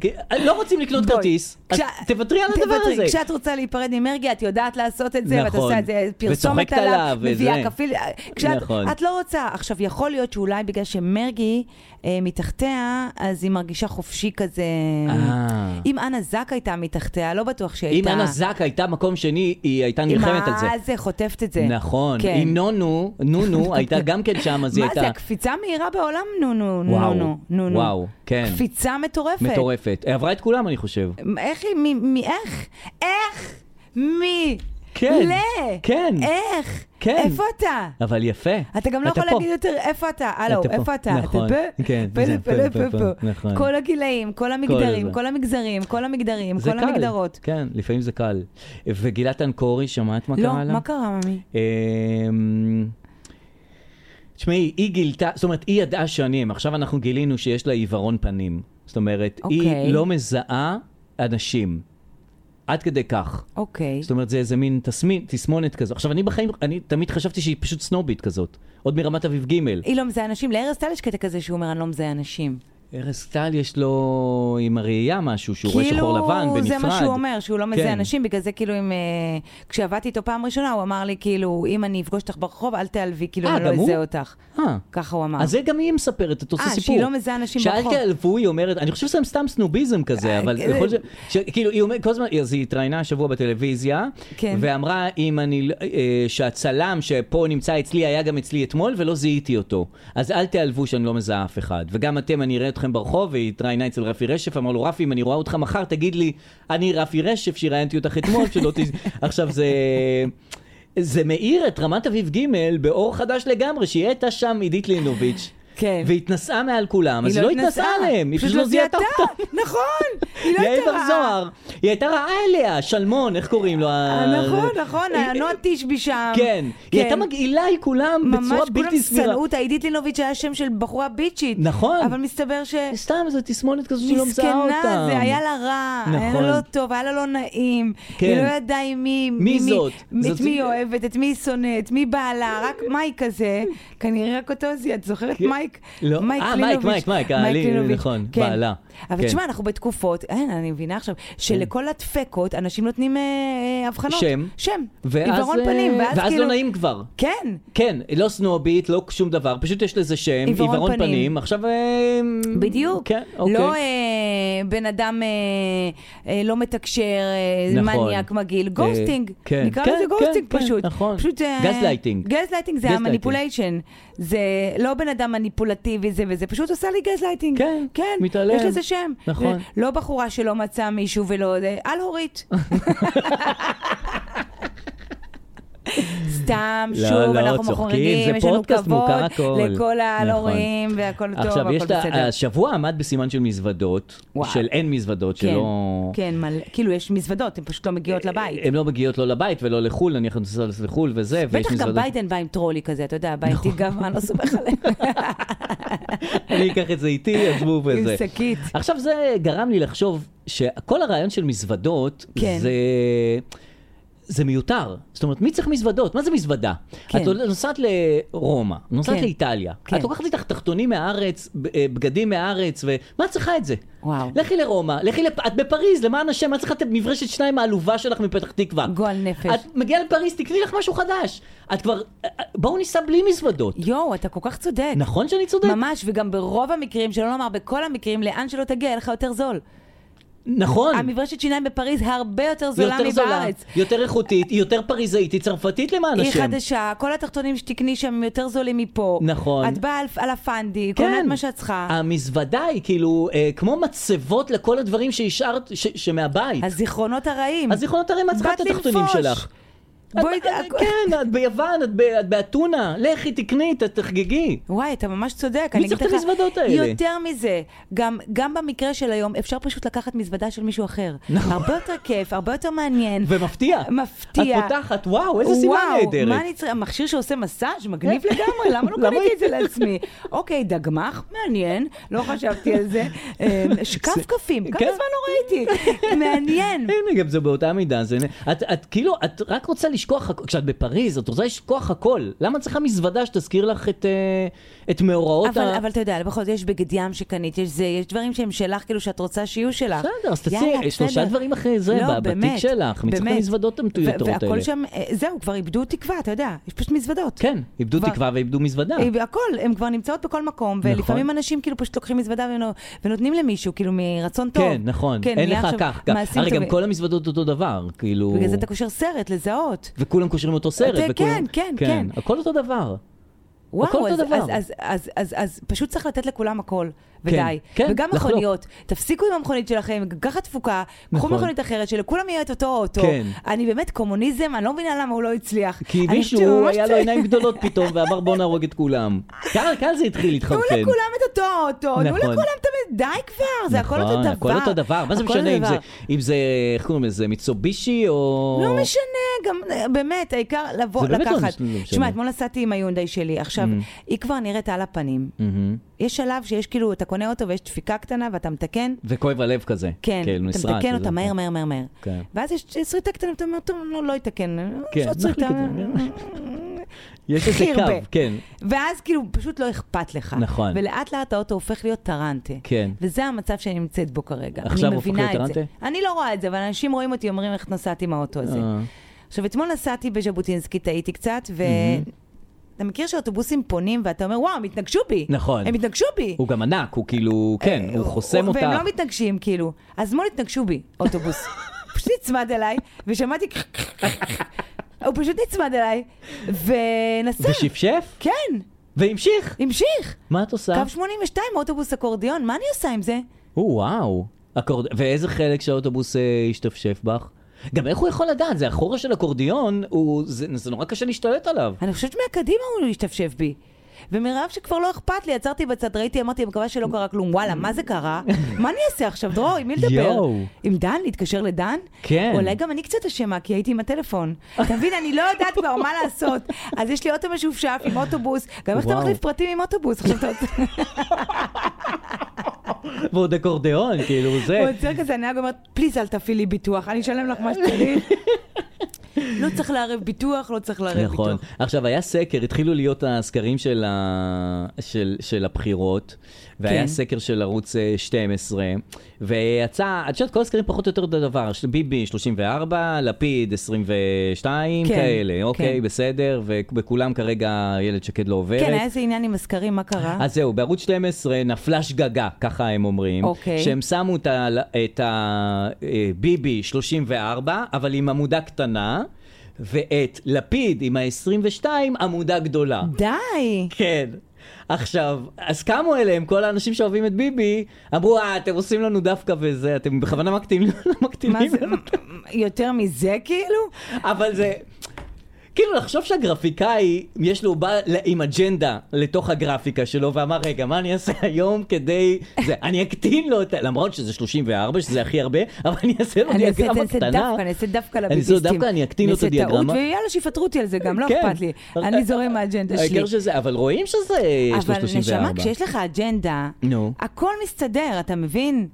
Speaker 1: לא רוצים לקנות
Speaker 2: בואי.
Speaker 1: כרטיס, אז
Speaker 2: כשה-
Speaker 1: תוותרי על הדבר
Speaker 2: תוותרי.
Speaker 1: הזה.
Speaker 2: כשאת רוצה להיפרד ממרגי, את יודעת לעשות את זה, ואת
Speaker 1: נכון.
Speaker 2: עושה את זה, פרסומת
Speaker 1: וצוחקת עליו,
Speaker 2: עליו,
Speaker 1: וזה.
Speaker 2: מביאה כפיל. כשאת,
Speaker 1: נכון.
Speaker 2: את לא רוצה. עכשיו, יכול להיות שאולי בגלל שמרגי אה, מתחתיה, אז היא מרגישה חופשי כזה.
Speaker 1: אה.
Speaker 2: אם אנה זק הייתה מתחתיה, לא בטוח שהיא
Speaker 1: אם
Speaker 2: הייתה...
Speaker 1: אנה זק הייתה מקום שני, היא הייתה נלחמת על זה.
Speaker 2: מה זה חוטפת את זה.
Speaker 1: נכון.
Speaker 2: כן.
Speaker 1: אם נונו, נונו הייתה גם כן שם, אז היא
Speaker 2: מה זה,
Speaker 1: הייתה
Speaker 2: הקפיצה המהירה בעולם? נו, נו,
Speaker 1: וואו,
Speaker 2: נו, נו, נו, נו.
Speaker 1: וואו, כן.
Speaker 2: קפיצה מטורפת.
Speaker 1: מטורפת. היא עברה את כולם, אני חושב.
Speaker 2: איך היא, מי, מי, איך? איך? מי?
Speaker 1: כן,
Speaker 2: ל?
Speaker 1: כן.
Speaker 2: איך?
Speaker 1: כן.
Speaker 2: איפה אתה?
Speaker 1: אבל יפה.
Speaker 2: אתה גם לא יכול
Speaker 1: פה.
Speaker 2: להגיד יותר איפה אתה, הלו,
Speaker 1: אתה פה.
Speaker 2: איפה אתה?
Speaker 1: נכון,
Speaker 2: אתה פה?
Speaker 1: כן,
Speaker 2: פה,
Speaker 1: זה
Speaker 2: פה,
Speaker 1: פה, פה,
Speaker 2: פה, פה.
Speaker 1: נכון.
Speaker 2: כל הגילאים, כל המגדרים,
Speaker 1: זה.
Speaker 2: כל המגזרים, כל המגדרים,
Speaker 1: זה
Speaker 2: כל
Speaker 1: קל.
Speaker 2: המגדרות.
Speaker 1: כן, לפעמים זה קל. וגילת אנקורי, שמעת מה
Speaker 2: לא,
Speaker 1: קרה לה?
Speaker 2: מה קרה, ממי?
Speaker 1: אמ, תשמעי, היא גילתה, זאת אומרת, היא ידעה שנים, עכשיו אנחנו גילינו שיש לה עיוורון פנים. זאת אומרת,
Speaker 2: אוקיי.
Speaker 1: היא לא מזהה אנשים. עד כדי כך.
Speaker 2: אוקיי.
Speaker 1: זאת אומרת, זה איזה מין תסמין, תסמונת כזו. עכשיו, אני בחיים, אני תמיד חשבתי שהיא פשוט סנובית כזאת. עוד מרמת אביב ג'.
Speaker 2: היא לא מזהה אנשים, לארז טל יש קטע כזה שהוא אומר, אני לא מזהה אנשים.
Speaker 1: ארז טל יש לו עם הראייה משהו, שהוא רואה שחור לבן, בנפרד.
Speaker 2: כאילו, זה מה שהוא אומר, שהוא לא מזהה
Speaker 1: כן.
Speaker 2: אנשים, בגלל זה כאילו אם... אה, כשעבדתי איתו פעם ראשונה, הוא אמר לי, כאילו, אם אני אפגוש אותך ברחוב, אל תיעלבי, כאילו,
Speaker 1: אה,
Speaker 2: אני לא
Speaker 1: גם הוא?
Speaker 2: אזהה אותך.
Speaker 1: אה.
Speaker 2: ככה הוא אמר.
Speaker 1: אז זה גם היא מספרת את אותו
Speaker 2: אה,
Speaker 1: סיפור.
Speaker 2: שהיא לא מזהה אנשים ברחוב.
Speaker 1: שאלתי על והוא, היא אומרת, אני חושב שזה סתם סנוביזם כזה,
Speaker 2: אה,
Speaker 1: אבל
Speaker 2: כן.
Speaker 1: יכול להיות ש... ש- כאילו, היא אומרת, כל הזמן, אז היא התראיינה השבוע בטלוויזיה,
Speaker 2: כן.
Speaker 1: ואמרה אם אני, אה, שהצלם שפה נמצא אצלי היה גם אצלי אתמול ולא זיהיתי אותו. אז אל תיעלבו שאני לא מזהה אף אחד. וגם אתם, אני אראה אתכם ברחוב, והיא התראיינה אצל רפי רשף, אמר לו, רפי, אם אני רואה אותך מחר, תגיד לי, אני רפי רשף שראיינתי אותך אתמול, שלא ת... עכשיו זה... זה מאיר את רמת אביב ג' באור חדש לגמרי, שהיא הייתה שם עידית לינוביץ'.
Speaker 2: כן.
Speaker 1: והתנסה מעל כולם, אז היא לא התנסה עליהם, היא פשוט לא זיהתה אותם.
Speaker 2: נכון, היא לא
Speaker 1: יעל
Speaker 2: הייתה
Speaker 1: בר
Speaker 2: רעה.
Speaker 1: זוהר, היא הייתה רעה אליה, שלמון, איך קוראים לו?
Speaker 2: אה,
Speaker 1: ה-
Speaker 2: נכון, נכון,
Speaker 1: היא-
Speaker 2: הנועה תשבי שם.
Speaker 1: אה, כן,
Speaker 2: כן.
Speaker 1: היא הייתה מגעילה היא כולם
Speaker 2: ממש
Speaker 1: בצורה
Speaker 2: כולם
Speaker 1: בלתי סבירה.
Speaker 2: שנאו אותה, עידית לינוביץ' היה שם של בחורה ביצ'ית.
Speaker 1: נכון.
Speaker 2: אבל מסתבר ש...
Speaker 1: סתם, זו תסמונת כזו שלא כאילו, לא מזהה אותם.
Speaker 2: מסכנה, זה היה לה רע, היה
Speaker 1: נכון.
Speaker 2: לה לא טוב, היה לה לא נעים.
Speaker 1: כן.
Speaker 2: היא לא ידעה עם מי... מי
Speaker 1: זאת? זאת-
Speaker 2: את מי היא אוהבת, את מי היא שונאת, מי בעלה, רק מייק הזה, כנראה רק אותו זה, את זוכרת
Speaker 1: כן.
Speaker 2: מייק?
Speaker 1: לא, אה, מייק, מייק, מייק, אה, לי-
Speaker 2: לינוביץ',
Speaker 1: נכון,
Speaker 2: כן.
Speaker 1: בעלה. כן.
Speaker 2: אבל תשמע, אנחנו בתקופות, אין, אני מבינה עכשיו, שלכל הדפקות אנשים נותנים אה, אה, אבחנות.
Speaker 1: שם.
Speaker 2: שם.
Speaker 1: ואז,
Speaker 2: עיוורון
Speaker 1: אה,
Speaker 2: פנים, ואז
Speaker 1: ואז
Speaker 2: כאילו...
Speaker 1: לא נעים כבר.
Speaker 2: כן.
Speaker 1: כן, לא סנובית, לא שום דבר, פשוט יש לזה שם,
Speaker 2: עיוורון
Speaker 1: עיוורון
Speaker 2: פנים.
Speaker 1: פנים, עכשיו... אה,
Speaker 2: בדיוק.
Speaker 1: כן, אוקיי.
Speaker 2: לא אה, בן אדם אה, אה, לא מתקשר, אה,
Speaker 1: נכון.
Speaker 2: מניאק מגעיל, גוסטינג.
Speaker 1: אה, כן.
Speaker 2: נקרא
Speaker 1: כן,
Speaker 2: לזה
Speaker 1: כן,
Speaker 2: גוסטינג
Speaker 1: כן,
Speaker 2: פשוט.
Speaker 1: נכון.
Speaker 2: פשוט... אה,
Speaker 1: גזלייטינג.
Speaker 2: גזלייטינג זה
Speaker 1: גזלייטינג.
Speaker 2: המניפוליישן. זה לא בן אדם מניפולטיבי זה וזה, פשוט עושה לי גזלייטינג.
Speaker 1: כן,
Speaker 2: כן.
Speaker 1: מתעלם.
Speaker 2: יש לזה שם.
Speaker 1: נכון.
Speaker 2: אה, לא בחורה שלא מצאה מישהו ולא... אה, על הורית. סתם,
Speaker 1: לא,
Speaker 2: שוב,
Speaker 1: לא,
Speaker 2: אנחנו
Speaker 1: צוחקים,
Speaker 2: מחורגים,
Speaker 1: זה
Speaker 2: יש לנו
Speaker 1: פודקאסט,
Speaker 2: כבוד
Speaker 1: מוכר הכל.
Speaker 2: לכל ההלורים,
Speaker 1: נכון.
Speaker 2: והכל טוב,
Speaker 1: עכשיו,
Speaker 2: הכל
Speaker 1: יש לה-
Speaker 2: בסדר.
Speaker 1: השבוע עמד בסימן של מזוודות,
Speaker 2: וואו.
Speaker 1: של אין מזוודות,
Speaker 2: כן,
Speaker 1: שלא...
Speaker 2: כן, מלא, כאילו יש מזוודות, הן פשוט לא מגיעות לבית.
Speaker 1: הן לא מגיעות לא לבית ולא לחו"ל, נניח הן נוסעות לחו"ל וזה, ויש
Speaker 2: בטח גם
Speaker 1: מזוודות. נכון.
Speaker 2: ביידן בא עם טרולי כזה, אתה יודע, בא איתי גב, אני לא סומך עליהם.
Speaker 1: אני אקח את זה איתי, עזבו
Speaker 2: עם
Speaker 1: וזה.
Speaker 2: שקית.
Speaker 1: עכשיו זה גרם לי לחשוב שכל הרעיון של מזוודות
Speaker 2: כן.
Speaker 1: זה... זה מיותר. זאת אומרת, מי צריך מזוודות? מה זה מזוודה?
Speaker 2: כן.
Speaker 1: את נוסעת לרומא, נוסעת
Speaker 2: כן.
Speaker 1: לאיטליה,
Speaker 2: כן.
Speaker 1: את לוקחת איתך תחתונים מהארץ, ב- אה, בגדים מהארץ, ומה את צריכה את זה?
Speaker 2: וואו.
Speaker 1: לכי לרומא, לכי לפ... את בפריז, למען השם, מה צריכה את המברשת שניים העלובה שלך מפתח תקווה?
Speaker 2: גועל נפש.
Speaker 1: את מגיעה לפריז, תקני לך משהו חדש. את כבר... אה, אה, בואו ניסע בלי מזוודות.
Speaker 2: יואו, אתה כל כך צודק.
Speaker 1: נכון שאני צודק?
Speaker 2: ממש, וגם ברוב המקרים, שלא לומר בכל המקרים, לאן שלא תגיע, יהיה לך יותר זול.
Speaker 1: נכון.
Speaker 2: המברשת שיניים בפריז הרבה יותר זולה
Speaker 1: יותר זולה,
Speaker 2: מבארץ.
Speaker 1: יותר איכותית, היא יותר פריזאית, היא צרפתית למען
Speaker 2: היא
Speaker 1: השם.
Speaker 2: חדשה, כל התחתונים שתקני שם הם יותר זולים מפה.
Speaker 1: נכון.
Speaker 2: את באה על, על הפנדי,
Speaker 1: כן.
Speaker 2: קונה את מה שאת צריכה.
Speaker 1: המזוודה היא כאילו אה, כמו מצבות לכל הדברים שהשארת, ש- שמהבית.
Speaker 2: הזיכרונות הרעים.
Speaker 1: אז יכולות הרי מה צריכה את
Speaker 2: באת
Speaker 1: התחתונים
Speaker 2: לנפוש.
Speaker 1: שלך. את-
Speaker 2: בואי... אה,
Speaker 1: את- כן, את ביוון, את ב- את באתונה, לכי תקני, ת- תחגגי.
Speaker 2: וואי, אתה ממש צודק.
Speaker 1: מי
Speaker 2: אני
Speaker 1: צריך
Speaker 2: אגיד
Speaker 1: את
Speaker 2: לך,
Speaker 1: המזוודות האלה?
Speaker 2: יותר מזה, גם, גם במקרה של היום, אפשר פשוט לקחת מזוודה של מישהו אחר.
Speaker 1: נכון.
Speaker 2: הרבה יותר כיף, הרבה יותר מעניין.
Speaker 1: ומפתיע.
Speaker 2: מפתיע.
Speaker 1: את פותחת, וואו, איזה סימן
Speaker 2: וואו, מה
Speaker 1: נהדרת.
Speaker 2: אני צריכה? מכשיר שעושה מסאז' מגניב לגמרי, למה לא
Speaker 1: למה
Speaker 2: קניתי את זה
Speaker 1: היא-
Speaker 2: לעצמי? אוקיי, דגמח, מעניין, לא חשבתי על זה. אה, שכפכפים, כמה
Speaker 1: כן.
Speaker 2: זמן לא ראיתי? מעניין.
Speaker 1: הנה, גם זה באותה מידה. זה... את, את כאילו, את רק רוצה לשכוח, הכ- כשאת בפריז, את רוצה לשכוח הכל. למה את צריכה מזוודה שתזכיר לך את, אה, את מאורעות
Speaker 2: אבל,
Speaker 1: ה...
Speaker 2: אבל אתה יודע, בכל זאת יש בגד ים שקנית, יש זה, יש דברים שהם שלך, כאילו שאת רוצה שיהיו שלך.
Speaker 1: בסדר, אז תעשי
Speaker 2: יאללה,
Speaker 1: שלושה
Speaker 2: בסדר.
Speaker 1: דברים אחרי זה,
Speaker 2: לא,
Speaker 1: ב- בתיק
Speaker 2: באמת,
Speaker 1: שלך. מי צריך את
Speaker 2: באמת.
Speaker 1: המזוודות המטויטות
Speaker 2: ו- והכל
Speaker 1: האלה?
Speaker 2: שם, אה, זהו, כבר איבדו תקווה, אתה יודע, יש פשוט מזוודות.
Speaker 1: כן, איבדו
Speaker 2: כבר-
Speaker 1: תקווה ואיבדו מזוודה.
Speaker 2: אה, הכל, הן כבר נמצאות בכל מקום,
Speaker 1: נכון.
Speaker 2: ולפעמים אנשים כאילו פשוט לוקחים מזוודה ונו- ונותנים למישהו, כאילו מרצון טוב.
Speaker 1: כן, נכון. אין
Speaker 2: נהיה
Speaker 1: לך
Speaker 2: עכשיו
Speaker 1: כך. כך.
Speaker 2: מעשים
Speaker 1: הרי גם
Speaker 2: טובים.
Speaker 1: כל המזוודות אותו דבר, כאילו...
Speaker 2: בגלל זה אתה קושר סרט, לזהות.
Speaker 1: וכולם קושרים אותו סרט.
Speaker 2: אתה-
Speaker 1: וכולם-
Speaker 2: כן, כן, כן.
Speaker 1: הכל אותו דבר. הכל
Speaker 2: וואו,
Speaker 1: אותו
Speaker 2: אז,
Speaker 1: דבר.
Speaker 2: אז, אז, אז, אז, אז פשוט צריך לתת לכולם הכל, ודי.
Speaker 1: כן,
Speaker 2: וגם
Speaker 1: לחלוק.
Speaker 2: מכוניות, תפסיקו עם המכונית שלכם, ככה תפוקה, קחו
Speaker 1: נכון.
Speaker 2: מכונית אחרת, שלכולם יהיה את אותו אוטו.
Speaker 1: כן.
Speaker 2: אני באמת קומוניזם, אני לא מבינה למה הוא לא הצליח.
Speaker 1: כי
Speaker 2: אני חושבת שהוא
Speaker 1: מישהו
Speaker 2: ממש
Speaker 1: היה לו
Speaker 2: צריך-
Speaker 1: עיניים גדולות פתאום ואמר בוא נהרוג את כולם. ככה ככה זה התחיל
Speaker 2: תנו
Speaker 1: להתחרפן.
Speaker 2: לכולם את אותו אוטו, תנו
Speaker 1: כן. נכון.
Speaker 2: לכולם תמיד, די כבר, זה הכל אותו
Speaker 1: נכון,
Speaker 2: דבר.
Speaker 1: הכל אותו דבר, מה זה
Speaker 2: הכל
Speaker 1: משנה
Speaker 2: אותו
Speaker 1: אם זה,
Speaker 2: דבר.
Speaker 1: אם זה, איך קוראים לזה, מיצובישי או...
Speaker 2: לא משנה, גם אה, באמת, העיקר לבוא,
Speaker 1: זה באמת לא
Speaker 2: לקחת.
Speaker 1: משנה, לא משנה. Mm-hmm.
Speaker 2: שמע, אתמול נסעתי עם היונדאי שלי, עכשיו, היא כבר נראית על הפנים.
Speaker 1: מהמם.
Speaker 2: יש שלב שיש כאילו, אתה קונה אותו ויש דפיקה קטנה ואתה מתקן,
Speaker 1: וכואב הלב כזה.
Speaker 2: כן,
Speaker 1: כאילו,
Speaker 2: אתה
Speaker 1: נשרט,
Speaker 2: מתקן
Speaker 1: וזה.
Speaker 2: אותה מהר, מהר, מהר, מהר.
Speaker 1: כן.
Speaker 2: ואז יש שריטה קטנה, אתה אומר, טוב, לא, לא יתקן.
Speaker 1: כן,
Speaker 2: יש עוד
Speaker 1: נחליק
Speaker 2: שריטה.
Speaker 1: את זה. יש איזה
Speaker 2: חירבה.
Speaker 1: קו, כן.
Speaker 2: ואז כאילו, פשוט לא אכפת לך.
Speaker 1: נכון.
Speaker 2: ולאט לאט האוטו הופך להיות טרנטה.
Speaker 1: כן.
Speaker 2: וזה המצב שאני נמצאת בו כרגע.
Speaker 1: עכשיו
Speaker 2: אני
Speaker 1: הופך
Speaker 2: מבינה
Speaker 1: להיות
Speaker 2: את זה.
Speaker 1: טרנטה?
Speaker 2: אני לא רואה את זה, אבל אנשים רואים אותי, אומרים איך נסעתי עם האוטו הזה.
Speaker 1: אה,
Speaker 2: עכשיו, אתמול נסעתי בז'בוטינסקי, טעיתי קצת, ו... אתה מכיר שאוטובוסים פונים ואתה אומר, וואו, הם התנגשו בי.
Speaker 1: נכון.
Speaker 2: הם התנגשו בי.
Speaker 1: הוא גם ענק, הוא כאילו, כן, הוא חוסם
Speaker 2: והם
Speaker 1: אותה.
Speaker 2: לא מתנגשים, כאילו. אז אתמול התנגשו בי, אוטובוס. פשוט נצמד אליי, ושמעתי... הוא פשוט נצמד אליי, ונסע.
Speaker 1: ושפשף,
Speaker 2: כן,
Speaker 1: והמשיך.
Speaker 2: המשיך.
Speaker 1: מה את עושה?
Speaker 2: קו 82, אוטובוס אקורדיון, מה אני עושה עם זה?
Speaker 1: או, וואו. אקורד... ואיזה חלק שהאוטובוס אה, השתפשף בך? גם איך הוא יכול לדעת? זה החורה של אקורדיון, הוא... זה, זה נורא קשה להשתלט עליו.
Speaker 2: אני חושבת מהקדימה הוא השתפשף בי. ומרעב שכבר לא אכפת לי, עצרתי בצד, ראיתי, אמרתי, אני מקווה שלא קרה כלום. וואלה, מה זה קרה? מה אני אעשה עכשיו, דרור? עם מי לדבר?
Speaker 1: יואו.
Speaker 2: עם דן? להתקשר לדן?
Speaker 1: כן.
Speaker 2: אולי גם אני קצת אשמה, כי הייתי עם הטלפון. אתה מבין, אני לא יודעת כבר מה לעשות. אז יש לי אוטו משופשף עם אוטובוס. גם איך אתה
Speaker 1: וואו.
Speaker 2: מחליף פרטים עם אוטובוס? עכשיו אתה רוצה...
Speaker 1: ועוד אקורדיון, כאילו, זה...
Speaker 2: הוא עוצר כזה, הנהג אומר, פליז אל תפעיל לי ביטוח, אני אשלם לך מה שצריך. לא צריך לערב ביטוח, לא צריך לערב ביטוח.
Speaker 1: נכון. עכשיו, היה סקר, התחילו להיות הסקרים של, ה... של, של הבחירות, והיה
Speaker 2: כן.
Speaker 1: כן. סקר של ערוץ אה, 12, ויצא, את יודעת, כל הסקרים פחות או יותר אותו דבר, של ביבי 34, לפיד 22,
Speaker 2: כן,
Speaker 1: כן, כאלה, אוקיי,
Speaker 2: כן.
Speaker 1: בסדר, ובכולם כרגע איילת שקד לא עוברת.
Speaker 2: כן, היה איזה עניין עם הסקרים, מה קרה?
Speaker 1: אז זהו, בערוץ 12 נפלה שגגה, ככה הם אומרים.
Speaker 2: אוקיי.
Speaker 1: שהם שמו את ה- את אה, הביבי 34, אבל עם עמודה קטנה, ואת לפיד עם ה-22, עמודה גדולה.
Speaker 2: די!
Speaker 1: כן. עכשיו, אז קמו אליהם כל האנשים שאוהבים את ביבי, אמרו, אה, אתם עושים לנו דווקא וזה, אתם בכוונה מקטינים
Speaker 2: מה
Speaker 1: מקטינים
Speaker 2: זה,
Speaker 1: לנו. לא,
Speaker 2: יותר מזה כאילו?
Speaker 1: אבל זה... כאילו, לחשוב שהגרפיקאי, יש לו, הוא בא ל- עם אג'נדה לתוך הגרפיקה שלו, ואמר, רגע, מה אני אעשה היום כדי... זה, אני אקטין לו את ה... למרות שזה 34, שזה הכי הרבה, אבל אני אעשה לו
Speaker 2: אני אעשה
Speaker 1: דיאגרמה
Speaker 2: אני אעשה
Speaker 1: קטנה.
Speaker 2: דווקא, אני אעשה דווקא
Speaker 1: אני אעשה
Speaker 2: לביביסטים.
Speaker 1: דווקא, אני אקטין לו את
Speaker 2: אני אעשה
Speaker 1: הדיאגרמה.
Speaker 2: טעות, ויאללה, שיפטרו אותי על זה גם, לא
Speaker 1: כן.
Speaker 2: אכפת לי. אני זורם מהאג'נדה שלי.
Speaker 1: העיקר שזה, אבל רואים שזה יש לו 34.
Speaker 2: אבל נשמה, כשיש לך אג'נדה,
Speaker 1: נו.
Speaker 2: הכל מסתדר, אתה מבין?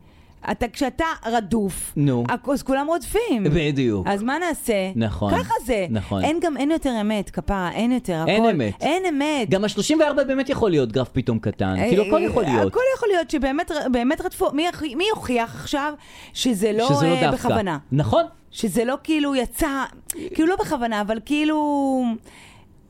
Speaker 2: אתה, כשאתה רדוף,
Speaker 1: נו.
Speaker 2: הכ- אז כולם רודפים.
Speaker 1: בדיוק.
Speaker 2: אז מה נעשה?
Speaker 1: נכון.
Speaker 2: ככה זה.
Speaker 1: נכון.
Speaker 2: אין גם, אין יותר אמת, כפרה, אין יותר,
Speaker 1: אין
Speaker 2: הכל.
Speaker 1: אמת.
Speaker 2: אין אמת.
Speaker 1: גם ה-34 באמת יכול להיות גרף פתאום קטן.
Speaker 2: אה,
Speaker 1: כאילו, הכל יכול
Speaker 2: אה,
Speaker 1: להיות.
Speaker 2: הכל יכול להיות שבאמת באמת רדפו, מי הכי- מי יוכיח עכשיו שזה לא
Speaker 1: שזה לא
Speaker 2: אה,
Speaker 1: דווקא.
Speaker 2: בכוונה?
Speaker 1: נכון.
Speaker 2: שזה לא כאילו יצא, כאילו לא בכוונה, אבל כאילו...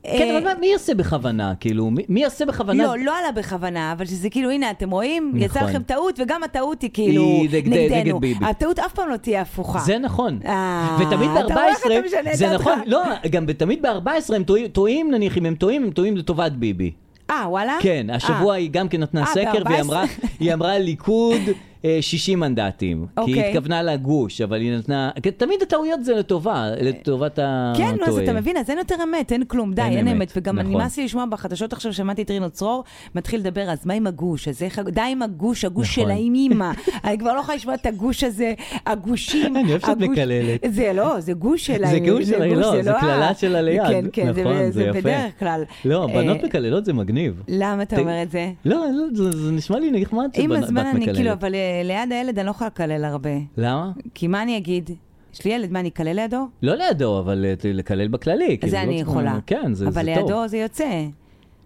Speaker 1: כן,
Speaker 2: אה,
Speaker 1: אבל מה- מי יעשה בכוונה? כאילו, מי- מי יעשה בכוונה?
Speaker 2: לא, לא עלה בכוונה, אבל שזה כאילו, הנה, אתם רואים? יצא
Speaker 1: נכון.
Speaker 2: לכם טעות, וגם הטעות היא כאילו
Speaker 1: היא נגד- נגד
Speaker 2: נגדנו.
Speaker 1: ביבי.
Speaker 2: הטעות אף פעם לא תהיה הפוכה.
Speaker 1: זה נכון.
Speaker 2: אה,
Speaker 1: ותמיד
Speaker 2: אתה רואה איך
Speaker 1: ב-14,
Speaker 2: אתה משנה את
Speaker 1: זה
Speaker 2: דעתך.
Speaker 1: נכון, לא, גם תמיד ב-14 הם טועים- טועים, נניח, אם הם טועים, הם טועים לטובת ביבי.
Speaker 2: אה, וואלה?
Speaker 1: כן, השבוע
Speaker 2: אה,
Speaker 1: היא גם כן נתנה
Speaker 2: אה,
Speaker 1: סקר,
Speaker 2: ב-
Speaker 1: והיא אמרה, היא אמרה ליכוד אה, 60 מנדטים. כי היא
Speaker 2: אוקיי.
Speaker 1: התכוונה לגוש, אבל היא נתנה... כן, תמיד הטעויות זה לטובה, לטובת הטועה.
Speaker 2: כן, נו, אז אתה מבין, אז אין יותר אמת, אין כלום, די,
Speaker 1: אה, אין
Speaker 2: אין
Speaker 1: אמת,
Speaker 2: אמת. וגם
Speaker 1: נכון.
Speaker 2: נמאס לי לשמוע בחדשות עכשיו, שמעתי את רינו צרור, מתחיל לדבר, אז מה עם הגוש? אז איך, ה- די עם הגוש, הגוש
Speaker 1: נכון.
Speaker 2: של האימא. אני כבר לא יכולה לשמוע את הגוש הזה, הגושים.
Speaker 1: אני אוהב שאת
Speaker 2: הגוש-
Speaker 1: מקללת.
Speaker 2: זה לא, זה גוש של
Speaker 1: זה
Speaker 2: האימא.
Speaker 1: גוש של האימא, לא, זה
Speaker 2: לא
Speaker 1: קללה
Speaker 2: ה-
Speaker 1: של הליד.
Speaker 2: כן, כן, זה-
Speaker 1: נכון,
Speaker 2: זה
Speaker 1: יפה.
Speaker 2: בדרך כלל.
Speaker 1: לא,
Speaker 2: אה,
Speaker 1: בנות מקללות זה מגניב.
Speaker 2: למה אתה
Speaker 1: ת-
Speaker 2: אומר את זה?
Speaker 1: לא, לא, זה זה נשמע לי נחמד
Speaker 2: עם
Speaker 1: שבנות-
Speaker 2: הזמן
Speaker 1: בת
Speaker 2: אני כאילו,
Speaker 1: מקללת.
Speaker 2: אבל אה, ליד הילד אני לא יכולה לקלל הרבה.
Speaker 1: למה?
Speaker 2: כי מה אני אגיד? יש לי ילד, מה, אני אקלל לידו?
Speaker 1: לא לידו, אבל אה, ת- לקלל בכללי. כאילו,
Speaker 2: זה
Speaker 1: לא
Speaker 2: אני
Speaker 1: צריך-
Speaker 2: יכולה.
Speaker 1: כן, זה זה טוב.
Speaker 2: אבל לידו זה יוצא.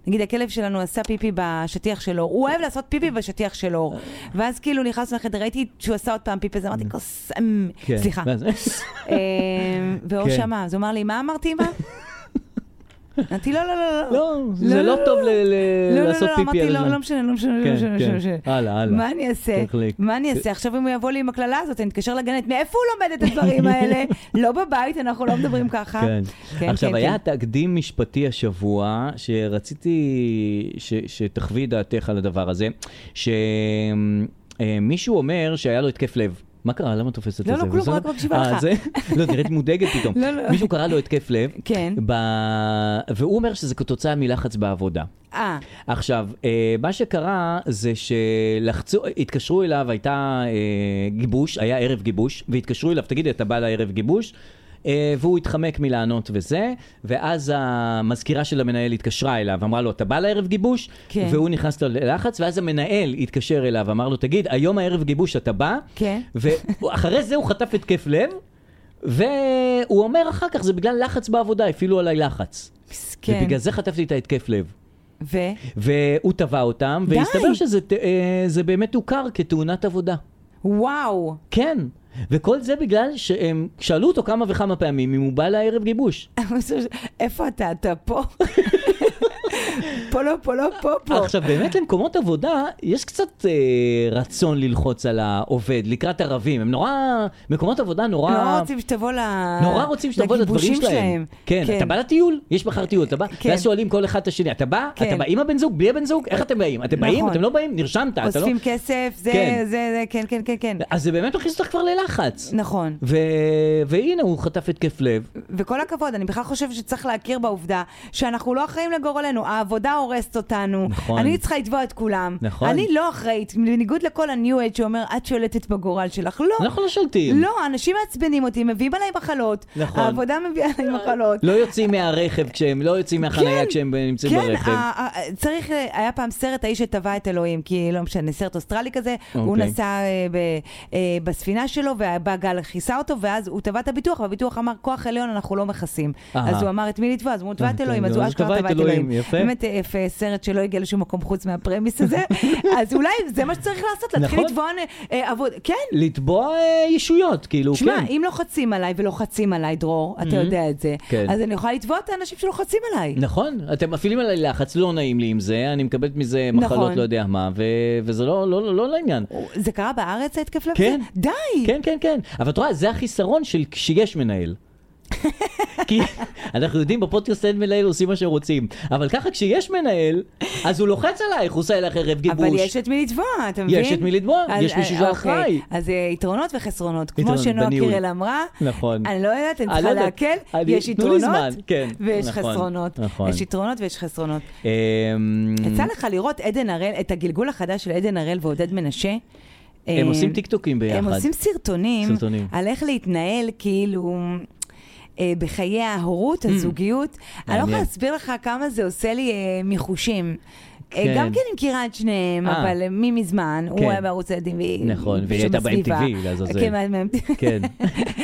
Speaker 2: נגיד, הכלב שלנו עשה פיפי בשטיח של אור. הוא אוהב לעשות פיפי בשטיח של אור. ואז כאילו נכנסנו לחדר, ראיתי שהוא עשה עוד פעם פיפי, אז אמרתי, כוס... אמ,
Speaker 1: Mm. כן,
Speaker 2: סליחה.
Speaker 1: ואז-
Speaker 2: אמ, ואור
Speaker 1: כן.
Speaker 2: שמע, אז הוא אמר לי, מה אמרתי, אמא? אמרתי, לא, לא, לא, לא.
Speaker 1: לא, זה לא טוב ל- ל-
Speaker 2: לא, לא,
Speaker 1: לעשות
Speaker 2: לא,
Speaker 1: פיפי
Speaker 2: אמרתי,
Speaker 1: על
Speaker 2: לא,
Speaker 1: הזמן.
Speaker 2: לא משנה, לא משנה,
Speaker 1: כן,
Speaker 2: לא משנה,
Speaker 1: כן.
Speaker 2: לא משנה.
Speaker 1: הלאה, הלאה.
Speaker 2: מה אני אעשה?
Speaker 1: צריך ל-
Speaker 2: מה אני אעשה? עכשיו אם הוא יבוא לי עם הקללה הזאת, אני אתקשר לגננת, מאיפה הוא לומד את הדברים האלה? לא בבית, אנחנו לא מדברים ככה.
Speaker 1: כן.
Speaker 2: כן,
Speaker 1: עכשיו,
Speaker 2: כן,
Speaker 1: היה
Speaker 2: כן.
Speaker 1: תקדים משפטי השבוע, שרציתי ש- שתחווי דעתך על הדבר הזה, שמישהו אומר שהיה לו התקף לב. מה קרה? למה את תופסת את זה?
Speaker 2: לא, לא, כלום,
Speaker 1: בסדר?
Speaker 2: רק מקשיבה
Speaker 1: אה,
Speaker 2: לך.
Speaker 1: זה? לא, נראית מודאגת פתאום.
Speaker 2: לא, לא.
Speaker 1: מישהו קרא לו התקף לב,
Speaker 2: כן.
Speaker 1: ב... והוא אומר שזה כתוצאה מלחץ בעבודה.
Speaker 2: אה,
Speaker 1: עכשיו, אה, מה שקרה זה שלחצו, התקשרו אליו, הייתה אה, גיבוש, היה ערב גיבוש, והתקשרו אליו, תגיד, אתה בא לערב גיבוש? אה, והוא התחמק מלענות וזה, ואז המזכירה של המנהל התקשרה אליו, אמרה לו, אתה בא לערב גיבוש?
Speaker 2: כן.
Speaker 1: והוא נכנס לו ללחץ, ואז המנהל התקשר אליו, אמר לו, תגיד, היום הערב גיבוש אתה בא?
Speaker 2: כן.
Speaker 1: ואחרי זה הוא חטף התקף לב, והוא אומר אחר כך, זה בגלל לחץ בעבודה, הפעילו עליי לחץ.
Speaker 2: מסכן.
Speaker 1: ובגלל זה חטפתי את ההתקף לב.
Speaker 2: כן. ו?
Speaker 1: והוא תבע אותם,
Speaker 2: די.
Speaker 1: והסתבר שזה ת- אה, זה באמת הוכר כתאונת עבודה.
Speaker 2: וואו.
Speaker 1: כן. וכל זה בגלל שהם שאלו אותו כמה וכמה פעמים אם הוא בא לערב גיבוש.
Speaker 2: איפה אתה? אתה פה? פה לא, פה לא, פה, פה.
Speaker 1: עכשיו, באמת למקומות עבודה יש קצת אה, רצון ללחוץ על העובד לקראת ערבים. הם נורא, מקומות עבודה נורא...
Speaker 2: נורא לא רוצים שתבוא ל...
Speaker 1: נורא רוצים שתבוא לדברים
Speaker 2: לגיבושים
Speaker 1: שלהם. כן, כן, אתה בא לטיול, יש מחר טיול, אתה בא,
Speaker 2: כן.
Speaker 1: ואז שואלים כל אחד את השני, אתה בא,
Speaker 2: כן.
Speaker 1: אתה בא עם הבן זוג, בלי הבן זוג, איך אתם באים? אתם באים,
Speaker 2: נכון.
Speaker 1: אתם לא באים, נרשמת, אתה לא...
Speaker 2: אוספים כסף, זה,
Speaker 1: כן.
Speaker 2: זה, זה, כן, כן, כן, כן.
Speaker 1: אז זה באמת מכניס אותך כבר ללחץ.
Speaker 2: נכון.
Speaker 1: ו... והנה הוא חטף התקף לב.
Speaker 2: וכל הכבוד, אני בכלל חושבת שצריך להכיר בעובדה שאנחנו לא אחראים לגורלנו, העבודה הורסת אותנו.
Speaker 1: נכון.
Speaker 2: אני צריכה לתבוע את כולם.
Speaker 1: נכון.
Speaker 2: אני לא אחראית, בניגוד לכל ה-new age שאומר, את שולטת בגורל שלך. לא.
Speaker 1: אנחנו לא שולטים.
Speaker 2: לא, אנשים מעצבנים אותי, מביאים עליי מחלות.
Speaker 1: נכון.
Speaker 2: העבודה מביאה עליי מחלות.
Speaker 1: לא יוצאים מהרכב כשהם, לא יוצאים מהחנייה
Speaker 2: כן,
Speaker 1: כשהם נמצאים
Speaker 2: כן,
Speaker 1: ברכב.
Speaker 2: ה- ה- צריך, אה, היה פעם סרט, האיש שטבע את אלוהים, כי לא משנה, סרט אוסטרלי כזה, הוא
Speaker 1: אוקיי.
Speaker 2: נסע אה, ב- אה, בספינה שלו, ובא גל כיסה אותו, ואז הוא תבע את הביטוח, והביטוח אמר, כוח עליון אנחנו לא מכסים.
Speaker 1: אהה.
Speaker 2: אז הוא אמר, את מי לתבוע? אז הוא תבע את
Speaker 1: אה,
Speaker 2: אלוהים,
Speaker 1: כן,
Speaker 2: אז הוא
Speaker 1: אז
Speaker 2: אשכרה תבע את אלוהים.
Speaker 1: יפה.
Speaker 2: באמת אה, יפה, סרט שלא הגיע לשום מקום חוץ מהפרמיס הזה, אז אולי זה מה שצריך לעשות, להתחיל
Speaker 1: נכון.
Speaker 2: לתבוע אה, אה, עבוד... כן.
Speaker 1: לתבוע אה, ישויות, כאילו,
Speaker 2: תשמע,
Speaker 1: כן.
Speaker 2: אם לוחצים עליי ולוחצים עליי, דרור, אתה יודע את זה,
Speaker 1: כן.
Speaker 2: אז אני יכולה לתבוע את האנשים שלוחצים עליי.
Speaker 1: נכון, אתם מפעילים עליי לחץ, לא נעים לי עם זה, אני מקבלת מזה מחלות
Speaker 2: נכון.
Speaker 1: לא יודע מה, ו... וזה לא, לא, לא, לא לעניין.
Speaker 2: זה קרה בארץ ההתקף לב?
Speaker 1: כן.
Speaker 2: הזה? די!
Speaker 1: כן, כן, כן. אבל את רואה, זה החיסרון של כשיש מנהל. כי אנחנו יודעים בפודקאסט אין מנהל עושים מה שרוצים. אבל ככה כשיש מנהל, אז הוא לוחץ עלייך, הוא עושה אלייך ערב גיבוש.
Speaker 2: אבל יש את מי לתבוע, אתה מבין?
Speaker 1: כן, יש את מי לתבוע,
Speaker 2: אז-
Speaker 1: יש מישהו
Speaker 2: אה,
Speaker 1: שאחראי.
Speaker 2: אוקיי. אז אה, יתרונות וחסרונות. כמו
Speaker 1: יתרונות,
Speaker 2: שנועה
Speaker 1: בניהול.
Speaker 2: קירל אמרה,
Speaker 1: נכון.
Speaker 2: אני לא יודעת, אני
Speaker 1: אני
Speaker 2: צריכה
Speaker 1: לא יודעת.
Speaker 2: להקל,
Speaker 1: אני-
Speaker 2: יש
Speaker 1: תנו לי
Speaker 2: יתרונות
Speaker 1: זמן, כן,
Speaker 2: ויש
Speaker 1: נכון,
Speaker 2: חסרונות.
Speaker 1: נכון.
Speaker 2: יש יתרונות ויש חסרונות.
Speaker 1: אמ,
Speaker 2: יצא לך לראות עדן הראל, את הגלגול החדש של עדן הראל ועודד מנשה?
Speaker 1: הם
Speaker 2: אה,
Speaker 1: עושים טיקטוקים ביחד.
Speaker 2: הם עושים סרטונים,
Speaker 1: סרטונים.
Speaker 2: על איך להתנהל כאילו אה, בחיי ההורות, הזוגיות. אני לא יכולה
Speaker 1: Mm. מעניין.
Speaker 2: להסביר לך כמה זה עושה לי אה, מחושים. אה,
Speaker 1: כן.
Speaker 2: גם כן אני מכירה את שניהם,
Speaker 1: אה.
Speaker 2: אבל אה, מי מזמן,
Speaker 1: כן.
Speaker 2: הוא היה בערוץ הילדים והיא
Speaker 1: נכון, והיא הייתה
Speaker 2: שבסביבה.
Speaker 1: ב-MTV, לעזאזל.
Speaker 2: כן, מה- מה-
Speaker 1: אה, כן.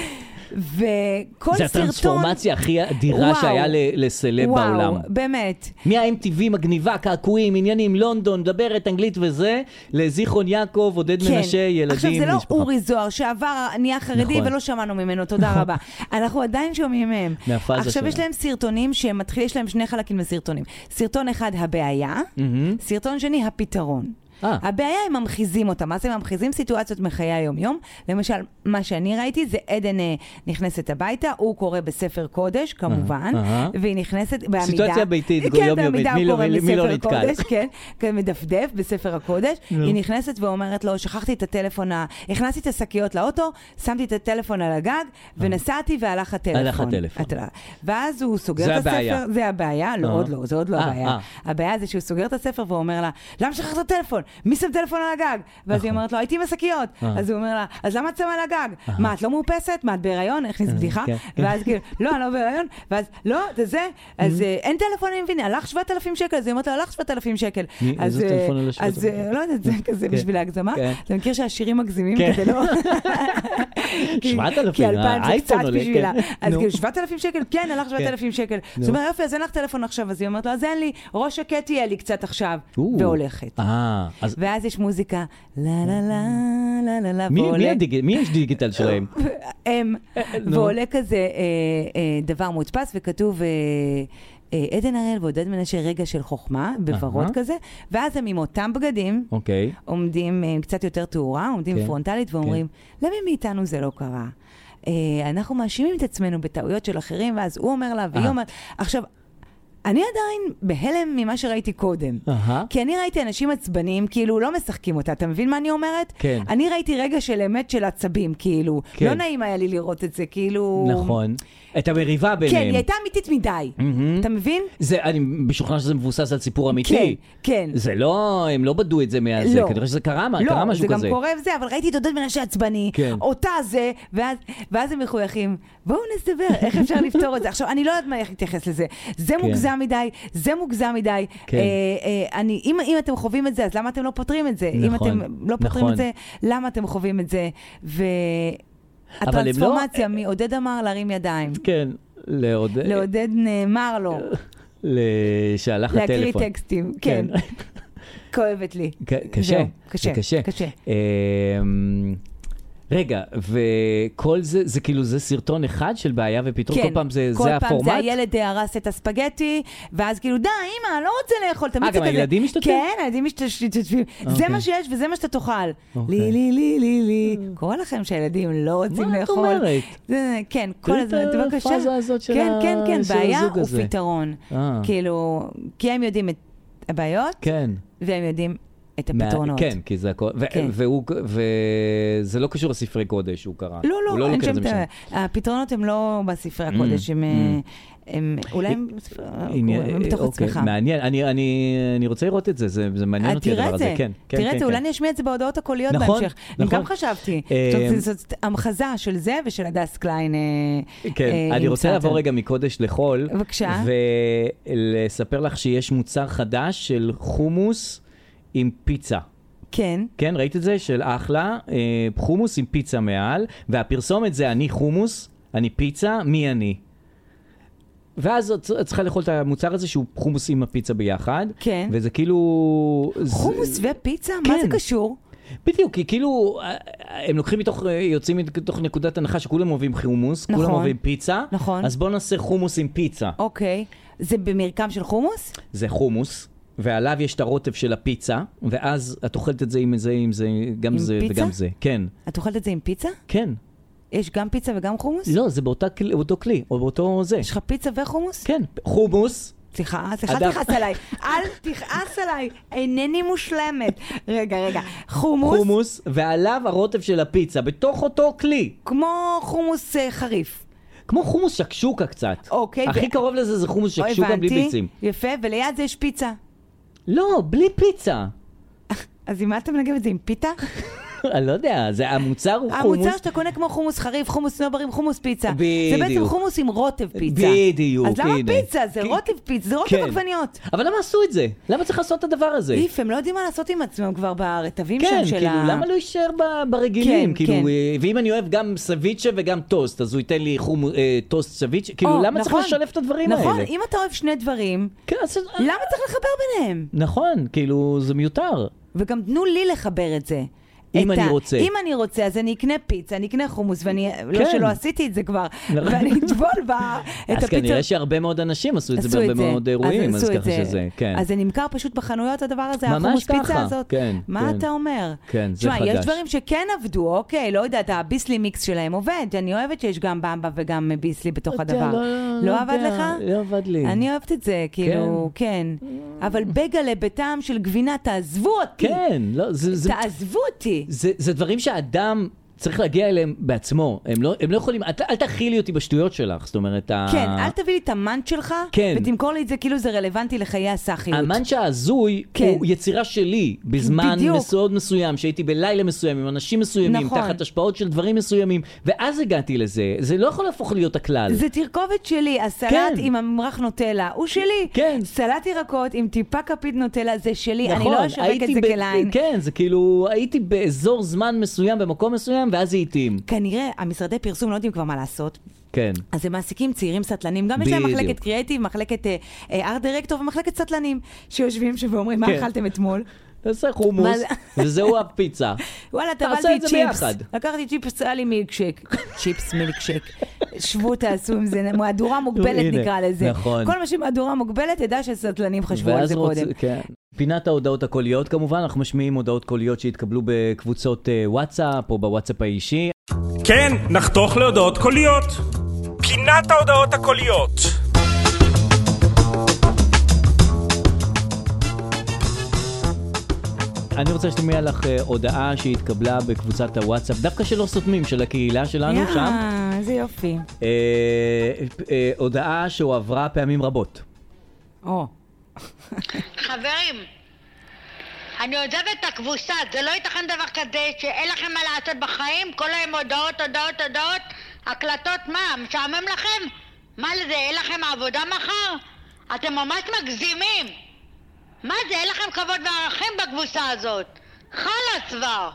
Speaker 2: וכל
Speaker 1: זה
Speaker 2: סרטון...
Speaker 1: הטרנספורמציה הכי אדירה
Speaker 2: וואו.
Speaker 1: שהיה ל- לסלב בעולם.
Speaker 2: וואו, באמת.
Speaker 1: מה-MTV מגניבה, קעקועים, עניינים, לונדון, מדברת אנגלית וזה, לזיכרון יעקב, עודד
Speaker 2: כן.
Speaker 1: מנשה, ילדים,
Speaker 2: עכשיו, זה לא
Speaker 1: משפחה.
Speaker 2: אורי זוהר שעבר, נהיה חרדי
Speaker 1: נכון.
Speaker 2: ולא שמענו ממנו, תודה רבה. אנחנו עדיין שומעים מהם.
Speaker 1: מהפאזה
Speaker 2: עכשיו,
Speaker 1: שלנו.
Speaker 2: יש להם סרטונים שמתחיל, יש להם שני חלקים בסרטונים. סרטון אחד, הבעיה, סרטון שני, הפתרון.
Speaker 1: אה.
Speaker 2: הבעיה, הם ממחיזים אותה. מה זה ממחיזים? סיטואציות מחיי היום-יום. למשל, מה שאני ראיתי זה עדן אה, נכנסת הביתה, הוא קורא בספר קודש, כמובן,
Speaker 1: אהה.
Speaker 2: והיא נכנסת בעמידה.
Speaker 1: סיטואציה ביתית,
Speaker 2: כן,
Speaker 1: יומיומית,
Speaker 2: בעמידה
Speaker 1: מי לא-
Speaker 2: הוא קורא
Speaker 1: מי- מי לא
Speaker 2: בספר
Speaker 1: נתקל?
Speaker 2: קודש, כן, כן, מדפדף בספר הקודש, היא נכנסת ואומרת לו, שכחתי את הטלפון, ה- הכנסתי את השקיות לאוטו, שמתי את הטלפון על הגג, ונסעתי והלך הטלפון.
Speaker 1: הלך הטלפון.
Speaker 2: הטל- ואז הוא
Speaker 1: זה
Speaker 2: סוגר את
Speaker 1: הבעיה.
Speaker 2: הספר, זה הבעיה, לא,
Speaker 1: אה.
Speaker 2: עוד לא, זה עוד לא
Speaker 1: אה,
Speaker 2: הבעיה.
Speaker 1: אה.
Speaker 2: הבעיה זה שהוא סוגר את הספר ואומר לה, למה שכחת את הטלפון? מי שם טלפון על הגג? ואז היא אומרת לו, הייתי עם השקיות.
Speaker 1: נכון. אה.
Speaker 2: אז הוא אומר לה, אז למה את שמה על הגג? מה, את לא מאופסת? מה, את בהיריון? הכניס בדיחה.
Speaker 1: כן, כן.
Speaker 2: ואז כאילו, לא, אני לא בהיריון, ואז, לא, זה זה, אז אה, אין טלפון, אני מבינה, הלך 7,000 שקל, אז היא אומרת לו, הלך 7,000 שקל.
Speaker 1: מי-
Speaker 2: אז,
Speaker 1: איזה
Speaker 2: אה,
Speaker 1: טלפון עלה
Speaker 2: אז
Speaker 1: 7,000?
Speaker 2: אה, לא יודעת, זה כזה
Speaker 1: כן.
Speaker 2: בשביל ההגזמה.
Speaker 1: כן.
Speaker 2: אתה מכיר שהשירים מגזימים
Speaker 1: כן.
Speaker 2: כדי לא... כי-
Speaker 1: 7,000,
Speaker 2: כי 2,000 זה
Speaker 1: האייפון
Speaker 2: קצת
Speaker 1: עולה,
Speaker 2: בשבילה.
Speaker 1: כן.
Speaker 2: אז
Speaker 1: נו.
Speaker 2: כאילו 7,000 שקל, כן, הלך 7,000 שקל. אז הוא אומר, יופי, אז אין לך טלפון עכשיו. אז היא אומרת לו, אז אין לי, ראש שקט יהיה לי קצת עכשיו.
Speaker 1: או.
Speaker 2: והולכת.
Speaker 1: אה, אז
Speaker 2: ואז יש מוזיקה, לה לה לה, לה לה לה,
Speaker 1: מי- מי
Speaker 2: ועולה.
Speaker 1: הדיג- מי יש דיגיטל שלהם?
Speaker 2: הם,
Speaker 1: נו.
Speaker 2: ועולה כזה אה, אה, דבר מודפס וכתוב... אה, אה, עדן הראל ועודד מנשה רגע של חוכמה, בוורוד
Speaker 1: אהה.
Speaker 2: כזה, ואז הם עם אותם בגדים,
Speaker 1: אוקיי.
Speaker 2: עומדים אה, עם קצת יותר תאורה, עומדים
Speaker 1: כן,
Speaker 2: כן, פרונטלית ואומרים, כן. למי מאיתנו זה לא קרה? אה, אנחנו מאשימים את עצמנו בטעויות של אחרים, ואז הוא אומר לה, והיא
Speaker 1: אה.
Speaker 2: אומרת... עכשיו, אני עדיין בהלם ממה שראיתי קודם.
Speaker 1: אהה.
Speaker 2: כי אני ראיתי אנשים עצבניים, כאילו, לא משחקים אותה, אתה מבין מה אני אומרת?
Speaker 1: כן.
Speaker 2: אני ראיתי רגע של אמת של עצבים, כאילו.
Speaker 1: כן.
Speaker 2: לא נעים היה לי לראות את זה, כאילו...
Speaker 1: נכון. את המריבה
Speaker 2: כן,
Speaker 1: ביניהם.
Speaker 2: היא הייתה אמיתית מדי. אתה מבין?
Speaker 1: זה, אני משוכנע שזה מבוסס על סיפור אמיתי.
Speaker 2: כן.
Speaker 1: זה לא, הם לא בדו את זה מהזה,
Speaker 2: לא.
Speaker 1: כנראה שזה קרה, מה- קרה משהו
Speaker 2: לא,
Speaker 1: כזה.
Speaker 2: זה גם קורה וזה, אבל ראיתי את עודד מנשה עצבני,
Speaker 1: כן.
Speaker 2: אותה זה, ואז, ואז הם מחויכים. בואו נסתבר, איך אפשר לפתור את זה? עכשיו, אני לא יודעת מה איך להתייחס לזה. זה
Speaker 1: כן.
Speaker 2: מוגזם מדי, זה מוגזם מדי.
Speaker 1: כן.
Speaker 2: אה, אה, אני, אם, אם אתם חווים את זה, אז למה אתם לא פותרים את זה? אם
Speaker 1: נכון,
Speaker 2: אתם לא פותרים
Speaker 1: נכון.
Speaker 2: את זה, למה אתם חווים את זה?
Speaker 1: אבל הם לא-
Speaker 2: והטרנספורמציה מעודד אמר להרים ידיים.
Speaker 1: כן, לעודד,
Speaker 2: לעודד נאמר לו,
Speaker 1: ל- שהלך
Speaker 2: להקריא
Speaker 1: הטלפון.
Speaker 2: טקסטים, כן. כואבת לי.
Speaker 1: ק- קשה,
Speaker 2: זהו, קשה,
Speaker 1: זה קשה.
Speaker 2: קשה.
Speaker 1: אמ, רגע, וכל זה, זה כאילו, זה סרטון אחד של בעיה ופתרון? כל פעם זה,
Speaker 2: כן, כל
Speaker 1: זה
Speaker 2: פעם
Speaker 1: הפורמט?
Speaker 2: זה הילד הרס את הספגטי, ואז כאילו, די, אמא, אני לא רוצה לאכול, תמיד
Speaker 1: אה,
Speaker 2: זה
Speaker 1: גם
Speaker 2: כזה.
Speaker 1: הילדים משתתפים?
Speaker 2: כן, הילדים משתתפים. זה
Speaker 1: אוקיי.
Speaker 2: מה שיש וזה מה שאתה תאכל.
Speaker 1: אוקיי.
Speaker 2: לי, לי, לי, לי, לי. קורה לכם שהילדים לא רוצים
Speaker 1: מה את
Speaker 2: לאכול.
Speaker 1: אומרת?
Speaker 2: זה- כן, כל
Speaker 1: תראי את
Speaker 2: הזמן, בבקשה.
Speaker 1: הפאזה הזאת של
Speaker 2: כן,
Speaker 1: ה-
Speaker 2: כן, כן,
Speaker 1: של
Speaker 2: בעיה
Speaker 1: הזוג הזה.
Speaker 2: ופתרון.
Speaker 1: אה.
Speaker 2: כאילו, כי הם יודעים את הבעיות,
Speaker 1: כן.
Speaker 2: והם יודעים את
Speaker 1: מה-
Speaker 2: הפתרונות.
Speaker 1: כן, כי זה הכל, ו-
Speaker 2: כן.
Speaker 1: והוא, וזה לא קשור לספרי קודש, הוא קרא.
Speaker 2: לא,
Speaker 1: הוא
Speaker 2: לא, אין
Speaker 1: לוקח את
Speaker 2: שם
Speaker 1: זה
Speaker 2: את
Speaker 1: משם. Mm,
Speaker 2: ה... הפתרונות הם לא בספרי הקודש, הם... אה, הם אולי הם בספרי-
Speaker 1: עניין-
Speaker 2: הם מתוך
Speaker 1: אוקיי,
Speaker 2: עצמך.
Speaker 1: מעניין, אני- אני אני רוצה לראות את זה, זה זה מעניין
Speaker 2: אה,
Speaker 1: אותי
Speaker 2: תראה
Speaker 1: הדבר
Speaker 2: את
Speaker 1: הזה.
Speaker 2: זה,
Speaker 1: כן, כן,
Speaker 2: תראה
Speaker 1: כן,
Speaker 2: את זה, אולי
Speaker 1: כן.
Speaker 2: נשמיע את זה בהודעות הקוליות
Speaker 1: נכון,
Speaker 2: בהמשך. אני
Speaker 1: נכון.
Speaker 2: גם חז'בתי.
Speaker 1: אה,
Speaker 2: זאת- זאת זאת המחזה של זה ושל הדס קליין. אה,
Speaker 1: כן,
Speaker 2: אה,
Speaker 1: אני
Speaker 2: עם
Speaker 1: רוצה לעבור
Speaker 2: סאטר.
Speaker 1: רגע מקודש לחול.
Speaker 2: בבקשה.
Speaker 1: ולספר לך שיש מוצר חדש של חומוס עם פיצה.
Speaker 2: כן.
Speaker 1: כן, ראית את זה? של אחלה, אה, חומוס עם פיצה מעל, והפרסומת זה אני חומוס, אני פיצה, מי אני? ואז את את צריכה לאכול את המוצר הזה שהוא חומוס עם הפיצה ביחד.
Speaker 2: כן.
Speaker 1: וזה כאילו... זה-
Speaker 2: חומוס ופיצה? מה זה
Speaker 1: כן.
Speaker 2: קשור?
Speaker 1: בדיוק, כי כאילו, אה, אה, הם לוקחים מתוך, אה, יוצאים מתוך נקודת הנחה שכולם אוהבים חומוס, כולם
Speaker 2: נכון.
Speaker 1: אוהבים פיצה,
Speaker 2: נכון.
Speaker 1: אז בואו נעשה חומוס עם פיצה.
Speaker 2: אוקיי. זה במרקם של חומוס?
Speaker 1: זה חומוס, ועליו יש את הרוטב של הפיצה, ואז את אוכלת את זה עם זה, עם זה, גם
Speaker 2: עם
Speaker 1: זה
Speaker 2: פיצה?
Speaker 1: וגם זה. כן,
Speaker 2: את אוכלת את זה עם פיצה?
Speaker 1: כן.
Speaker 2: יש גם פיצה וגם חומוס?
Speaker 1: לא, זה באותה כל- באותו כלי, או באותו זה.
Speaker 2: יש לך פיצה וחומוס?
Speaker 1: כן, חומוס.
Speaker 2: סליחה, אה, סליחה,
Speaker 1: אדם.
Speaker 2: תכעס עליי. אל תכעס עליי, אינני מושלמת. רגע, רגע. חומוס,
Speaker 1: חומוס, ועליו הרוטב של הפיצה, בתוך אותו כלי.
Speaker 2: כמו חומוס אה, חריף.
Speaker 1: כמו חומוס שקשוקה קצת.
Speaker 2: אוקיי,
Speaker 1: הכי
Speaker 2: ו-
Speaker 1: קרוב לזה זה חומוס
Speaker 2: לא
Speaker 1: שקשוקה בלי
Speaker 2: הבנתי.
Speaker 1: ביצים.
Speaker 2: יפה, וליד זה יש פיצה.
Speaker 1: לא, בלי פיצה.
Speaker 2: אז עם מה אתה מנגב את זה? עם פיתה?
Speaker 1: אני לא יודע, זה המוצר הוא חומוס.
Speaker 2: המוצר שאתה קונה כמו חומוס חריף, חומוס סנוברים, חומוס פיצה. זה בעצם
Speaker 1: בדיוק.
Speaker 2: חומוס עם רוטב פיצה.
Speaker 1: בדיוק,
Speaker 2: אז למה
Speaker 1: הנה.
Speaker 2: פיצה? זה
Speaker 1: כי-
Speaker 2: רוטב פיצה, זה רוטב
Speaker 1: כן.
Speaker 2: עגבניות.
Speaker 1: אבל למה עשו את זה? למה צריך לעשות את הדבר הזה?
Speaker 2: איף, הם לא יודעים מה לעשות עם עצמם כבר ברטבים
Speaker 1: כן,
Speaker 2: שם של
Speaker 1: כאילו,
Speaker 2: ה...
Speaker 1: למה לא יישאר ב- ברגילים?
Speaker 2: כן,
Speaker 1: כאילו,
Speaker 2: כן.
Speaker 1: אה, ואם אני אוהב גם סביצ'ה וגם טוסט, אז הוא ייתן לי חום, אה, טוסט סביצ'ה? כאילו,
Speaker 2: או,
Speaker 1: למה
Speaker 2: נכון.
Speaker 1: צריך לשלב את הדברים האלה?
Speaker 2: נכון, אם אתה אוהב שני דברים,
Speaker 1: כן, אז-
Speaker 2: למה צריך לחבר ביניהם?
Speaker 1: נכון, כאילו, זה מיותר.
Speaker 2: וגם תנו לי לחבר את זה.
Speaker 1: אם
Speaker 2: את
Speaker 1: אני רוצה.
Speaker 2: אם אני רוצה, אז אני אקנה פיצה, אני אקנה חומוס, ואני... לא
Speaker 1: כן.
Speaker 2: שלא עשיתי את זה כבר,
Speaker 1: נכון.
Speaker 2: ואני אטבול בה את
Speaker 1: אז כן,
Speaker 2: הפיצה.
Speaker 1: כנראה שהרבה מאוד אנשים עשו את זה
Speaker 2: עשו
Speaker 1: בהרבה מאוד אירועים,
Speaker 2: עשו
Speaker 1: אז
Speaker 2: את
Speaker 1: ככה שזה, כן.
Speaker 2: אז זה נמכר פשוט בחנויות הדבר הזה,
Speaker 1: ממש
Speaker 2: החומוס פיצה
Speaker 1: ככה,
Speaker 2: הזאת.
Speaker 1: כן,
Speaker 2: מה
Speaker 1: כן.
Speaker 2: אתה אומר?
Speaker 1: כן, זה
Speaker 2: תשמע, יש
Speaker 1: חדש.
Speaker 2: דברים שכן עבדו, אוקיי, לא יודעת, הביסלי מיקס שלהם עובד, אני אוהבת שיש גם במבה וגם ביסלי בתוך
Speaker 1: אתה
Speaker 2: הדבר.
Speaker 1: לא-
Speaker 2: לא
Speaker 1: לא
Speaker 2: עבד
Speaker 1: יודע,
Speaker 2: לך?
Speaker 1: לא עבד לי.
Speaker 2: אני אוהבת את זה, כאילו, כן. אבל בגלה בטעם של גבינה, תעזבו אותי.
Speaker 1: כן, לא, זה- זה-
Speaker 2: תעזבו אותי.
Speaker 1: זה זה דברים שהאדם... צריך להגיע אליהם בעצמו, הם לא, הם לא יכולים, אל, אל תכילי אותי בשטויות שלך, זאת אומרת, ה-
Speaker 2: כן, אל תביא לי את המאנט שלך,
Speaker 1: אה. כן.
Speaker 2: ותמכור לי את זה כאילו זה רלוונטי לחיי הסאחיות.
Speaker 1: המאנצ'ה ההזוי
Speaker 2: כן.
Speaker 1: הוא יצירה שלי בזמן
Speaker 2: בדיוק.
Speaker 1: מסוים מסוים, שהייתי בלילה מסוים עם אנשים מסוימים,
Speaker 2: נכון.
Speaker 1: תחת השפעות של דברים מסוימים, ואז הגעתי לזה. זה לא יכול להפוך להיות הכלל.
Speaker 2: זה תרכובת שלי, הסלט
Speaker 1: כן.
Speaker 2: עם הממרח נוטלה, הוא שלי.
Speaker 1: כן.
Speaker 2: סלט ירקות עם טיפה כפית נוטלה, זה שלי,
Speaker 1: נכון,
Speaker 2: אני לא אשווק את
Speaker 1: הייתי
Speaker 2: זה
Speaker 1: ב-
Speaker 2: כליין.
Speaker 1: כן, זה כאילו, הייתי באזור זמן מסוים, במקום מסוים, ואז זה התאים.
Speaker 2: כנראה המשרדי פרסום לא יודעים כבר מה לעשות,
Speaker 1: כן.
Speaker 2: אז הם מעסיקים צעירים סטלנים, גם יש להם
Speaker 1: בדיוק.
Speaker 2: מחלקת קריאיטיב, מחלקת אה, ארט דירקטור ומחלקת סטלנים, שיושבים שם ואומרים, מה
Speaker 1: כן.
Speaker 2: אכלתם אתמול?
Speaker 1: תעשה חומוס,
Speaker 2: מה
Speaker 1: וזהו הפיצה.
Speaker 2: וואלה,
Speaker 1: תעשה
Speaker 2: טבלתי
Speaker 1: את זה
Speaker 2: צ'יפס.
Speaker 1: ביחד.
Speaker 2: לקחתי צ'יפס, היה לי מילקשק. צ'יפס, מילקשק. שבו תעשו עם זה, מהדורה מוגבלת
Speaker 1: הנה,
Speaker 2: נקרא לזה.
Speaker 1: נכון.
Speaker 2: כל מה שמהדורה מוגבלת, תדע שסטלנים חשבו על
Speaker 1: ואז
Speaker 2: זה
Speaker 1: רוצ-
Speaker 2: קודם.
Speaker 1: כן. פינת ההודעות הקוליות כמובן, אנחנו משמיעים הודעות קוליות שהתקבלו בקבוצות אה, וואטסאפ או בוואטסאפ האישי.
Speaker 3: כן, נחתוך להודעות קוליות. פינת ההודעות הקוליות.
Speaker 1: אני רוצה שתשמעי לך אה, הודעה שהתקבלה בקבוצת הוואטסאפ, דווקא שלא סותמים, של הקהילה שלנו
Speaker 2: יא,
Speaker 1: שם.
Speaker 2: איזה יופי.
Speaker 1: אה, אה, הודעה שהועברה פעמים רבות.
Speaker 2: או.
Speaker 4: חברים, אני עוזבת את הקבוצה, זה לא ייתכן דבר כזה שאין לכם מה לעשות בחיים, כל היום הודעות, הודעות, הודעות, הקלטות, מה, משעמם לכם? מה זה, אין לכם עבודה מחר? אתם ממש מגזימים! מה זה, אין לכם כבוד וערכים בקבוצה הזאת? חלאס כבר!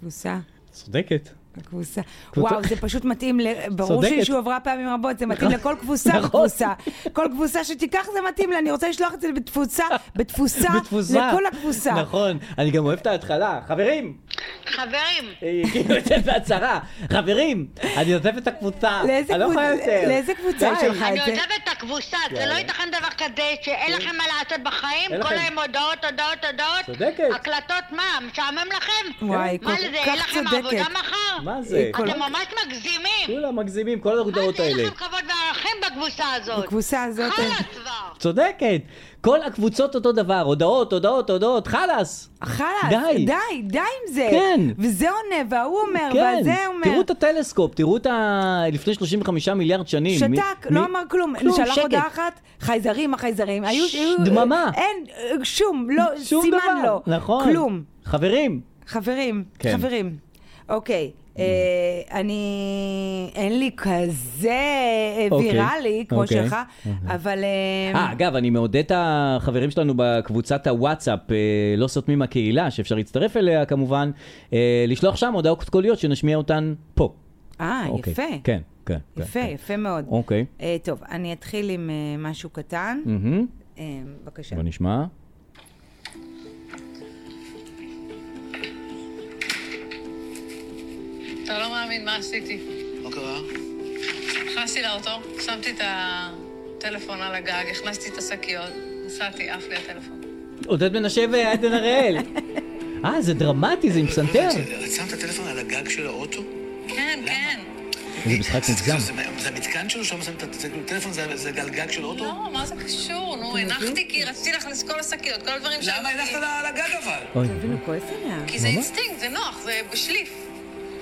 Speaker 2: כבוסה.
Speaker 1: צודקת.
Speaker 2: כבוסה.
Speaker 1: קבוצה-
Speaker 2: וואו, זה פשוט מתאים, ל- ברור
Speaker 1: צודקת.
Speaker 2: שהיא שהועברה פעמים רבות, זה מתאים לכל כבוסה
Speaker 1: נכון.
Speaker 2: וכבוסה. כל כבוסה שתיקח זה מתאים לה, אני רוצה לשלוח את זה בתפוצה, בתפוסה,
Speaker 1: בתפוסה.
Speaker 2: לכל הכבוסה.
Speaker 1: נכון, אני גם אוהב את ההתחלה. חברים!
Speaker 4: חברים,
Speaker 1: אה, כאילו יוצאת בהצהרה. חברים! אני עוזב את הקבוצה.
Speaker 2: לאיזה
Speaker 1: אני לא יכולה
Speaker 2: קבוצ-
Speaker 1: יותר.
Speaker 2: לאיזה קבוצה
Speaker 1: די.
Speaker 2: היא שלחה?
Speaker 4: אני
Speaker 2: את זה.
Speaker 4: עוזבת את הקבוצה, זה לא
Speaker 1: יאללה.
Speaker 4: ייתכן דבר כזה שאין לכם מה לעשות בחיים,
Speaker 1: אין
Speaker 4: כל
Speaker 1: לכם.
Speaker 4: היום הודעות, הודעות, הודעות,
Speaker 1: צודקת.
Speaker 4: הקלטות, מה, משעמם לכם?
Speaker 2: וואי,
Speaker 4: מה
Speaker 2: כל
Speaker 4: זה,
Speaker 2: כך
Speaker 4: אין לכם
Speaker 2: צודקת.
Speaker 4: עבודה מחר?
Speaker 1: מה זה?
Speaker 2: כל-
Speaker 4: אתם ממש מגזימים!
Speaker 1: כולם מגזימים, כל
Speaker 4: מה
Speaker 1: ההודעות
Speaker 4: זה, אין
Speaker 1: האלה.
Speaker 4: לכם כבוד וערכים בקבוצה הזאת?
Speaker 2: הקבוצה הזאת...
Speaker 4: חלאס כבר!
Speaker 1: צודקת. כל הקבוצות אותו דבר, הודעות, הודעות, הודעות, חלאס.
Speaker 2: חלאס,
Speaker 1: די.
Speaker 2: די, די עם זה.
Speaker 1: כן.
Speaker 2: וזה עונה, וההוא אומר,
Speaker 1: כן,
Speaker 2: וזה אומר.
Speaker 1: תראו את הטלסקופ, תראו את ה... לפני 35 מיליארד שנים. מי-
Speaker 2: שתק,
Speaker 1: מי-
Speaker 2: לא אמר כלום.
Speaker 1: כלום,
Speaker 2: שלח
Speaker 1: שקט.
Speaker 2: הודעה אחת, חייזרים, החייזרים. היו-
Speaker 1: ש-
Speaker 2: היו-
Speaker 1: דממה.
Speaker 2: אין, אה, שום, לא,
Speaker 1: שום
Speaker 2: סימן
Speaker 1: דבר.
Speaker 2: לא.
Speaker 1: נכון.
Speaker 2: כלום.
Speaker 1: חברים,
Speaker 2: חברים,
Speaker 1: כן. Mm.
Speaker 2: חברים. אוקיי, אה, אני... אין לי כזה אה,
Speaker 1: אוקיי,
Speaker 2: ויראלי כמו
Speaker 1: אוקיי,
Speaker 2: שלך, אבל... אה,
Speaker 1: אה, אגב, אני מעודד את החברים שלנו בקבוצת הוואטסאפ, אה, לא סותמים הקהילה, שאפשר להצטרף אליה כמובן, אה, לשלוח שם הודעות קוליות שנשמיע אותן פה.
Speaker 2: אה,
Speaker 1: אוקיי.
Speaker 2: יפה.
Speaker 1: כן, כן. כן,
Speaker 2: יפה,
Speaker 1: כן.
Speaker 2: יפה מאוד.
Speaker 1: אוקיי. Mm.
Speaker 2: אה, טוב, אני אתחיל עם אה, משהו קטן.
Speaker 1: מהמם.
Speaker 2: אה, בבקשה.
Speaker 1: בוא נשמע.
Speaker 5: אתה לא מאמין מה עשיתי.
Speaker 6: מה קרה?
Speaker 5: נכנסתי לאוטו, שמתי את הטלפון על הגג, הכנסתי את השקיות, נסעתי, עף לי הטלפון.
Speaker 1: עודד מנשה ועדן הראל. אה, זה דרמטי, זה עם פסנתר.
Speaker 6: את שמת את הטלפון על הגג של האוטו?
Speaker 5: כן, כן.
Speaker 1: איזה משחק מוגזם.
Speaker 6: זה- זה המתקן שלו, שם שמים את הטלפון, זה זה גלגג של אוטו?
Speaker 5: לא, מה זה קשור? נו, הנחתי כי רציתי להכניס כל השקיות, כל הדברים ש...
Speaker 6: למה הלכת על הגג אבל?
Speaker 1: אוי,
Speaker 2: אפילו כועס עליה.
Speaker 5: כי זה אינסטינקט, זה נוח, זה בשליף.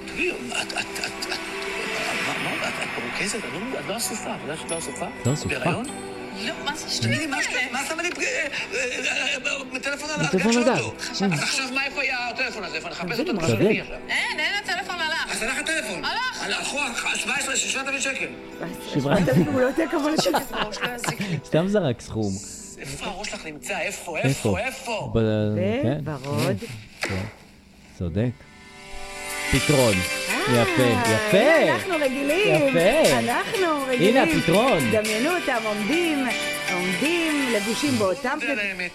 Speaker 6: תגידי, את- את- את- את- מה- מה- את- את מרוכזת? את לא- את לא אסופה, את יודעת שאת לא אסופה?
Speaker 1: לא אסופה.
Speaker 6: בהיריון?
Speaker 5: לא, מה זה
Speaker 6: תגידי,
Speaker 5: שטויות
Speaker 6: מה שאת-
Speaker 5: האלה?
Speaker 6: מה שמה לי פג- אה, אה, אה, בטלפון על הגג
Speaker 1: בטלפון
Speaker 6: של
Speaker 1: על
Speaker 6: אוטו?
Speaker 1: הגג.
Speaker 6: אז עכשיו מה איפה היה הטלפון הזה? איפה נחפש אותו?
Speaker 1: מוזר.
Speaker 6: נחשוב מי עכשיו.
Speaker 5: אין, אין, הטלפון הלך.
Speaker 6: אז הלך הטלפון.
Speaker 5: הלך.
Speaker 6: הלכו 17, 7,000 שקל.
Speaker 1: שברה.
Speaker 2: הוא לא יודע כמה לשבת.
Speaker 5: הראש לא יזיק לי.
Speaker 1: סתם זרק סכום.
Speaker 6: איפה הראש שלך נמצא? איפה?
Speaker 1: איפה?
Speaker 6: איפה? איפה?
Speaker 1: ב- כן,
Speaker 2: אה, ורוד.
Speaker 1: צודק. פתרון.
Speaker 2: אה,
Speaker 1: יפה,
Speaker 7: הנה,
Speaker 1: יפה.
Speaker 7: אנחנו רגילים.
Speaker 1: יפה.
Speaker 7: אנחנו רגילים.
Speaker 1: הנה הפתרון.
Speaker 7: דמיינו אותם עומדים, עומדים, לבושים באותם
Speaker 6: זה על האמת.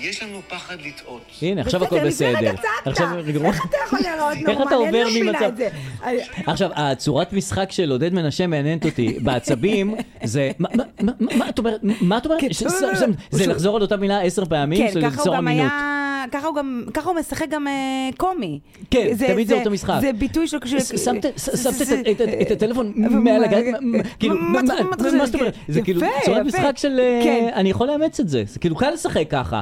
Speaker 6: יש לנו פחד לטעות.
Speaker 1: הנה, עכשיו הכל
Speaker 7: בסדר, לפני
Speaker 1: בסדר.
Speaker 7: רגע צעקת.
Speaker 1: עכשיו רגוע.
Speaker 7: איך אתה יכול להיראות
Speaker 1: איך אתה
Speaker 7: נורמלי? אני
Speaker 1: עובר
Speaker 7: לא מבינה
Speaker 1: ממצב-
Speaker 7: את זה.
Speaker 2: אה,
Speaker 7: אני-
Speaker 1: עכשיו, הצורת משחק של עודד מנשה מעניינת אותי. בעצבים, זה... מה- מה- מה- מה מה את אומרת? מה את אומרת? ש- ש- ש- זה לחזור על אותה מילה עשר פעמים?
Speaker 2: כן,
Speaker 1: זה
Speaker 2: ככה הוא
Speaker 1: ליצור
Speaker 2: גם
Speaker 1: אמינות.
Speaker 2: היה... ככה הוא גם... ככה הוא משחק גם אה, קומי.
Speaker 1: כן, תמיד זה אותו משחק.
Speaker 2: זה ביטוי של...
Speaker 1: ש-
Speaker 2: של-
Speaker 1: שמת ש-
Speaker 2: זה-
Speaker 1: שמת את-
Speaker 2: זה- אה,
Speaker 1: את- את- את הטלפון
Speaker 2: אבל
Speaker 1: מעל
Speaker 2: מה-
Speaker 1: הגג, מה- כאילו,
Speaker 2: אה, מה-
Speaker 1: מה
Speaker 2: מה-
Speaker 1: מה-
Speaker 2: מה-
Speaker 1: מה זאת אומרת? זה
Speaker 2: יפה,
Speaker 1: כאילו צורת
Speaker 2: יפה.
Speaker 1: משחק של, אה,
Speaker 2: כן.
Speaker 1: אני יכול לאמץ את זה, זה כאילו קל לשחק ככה.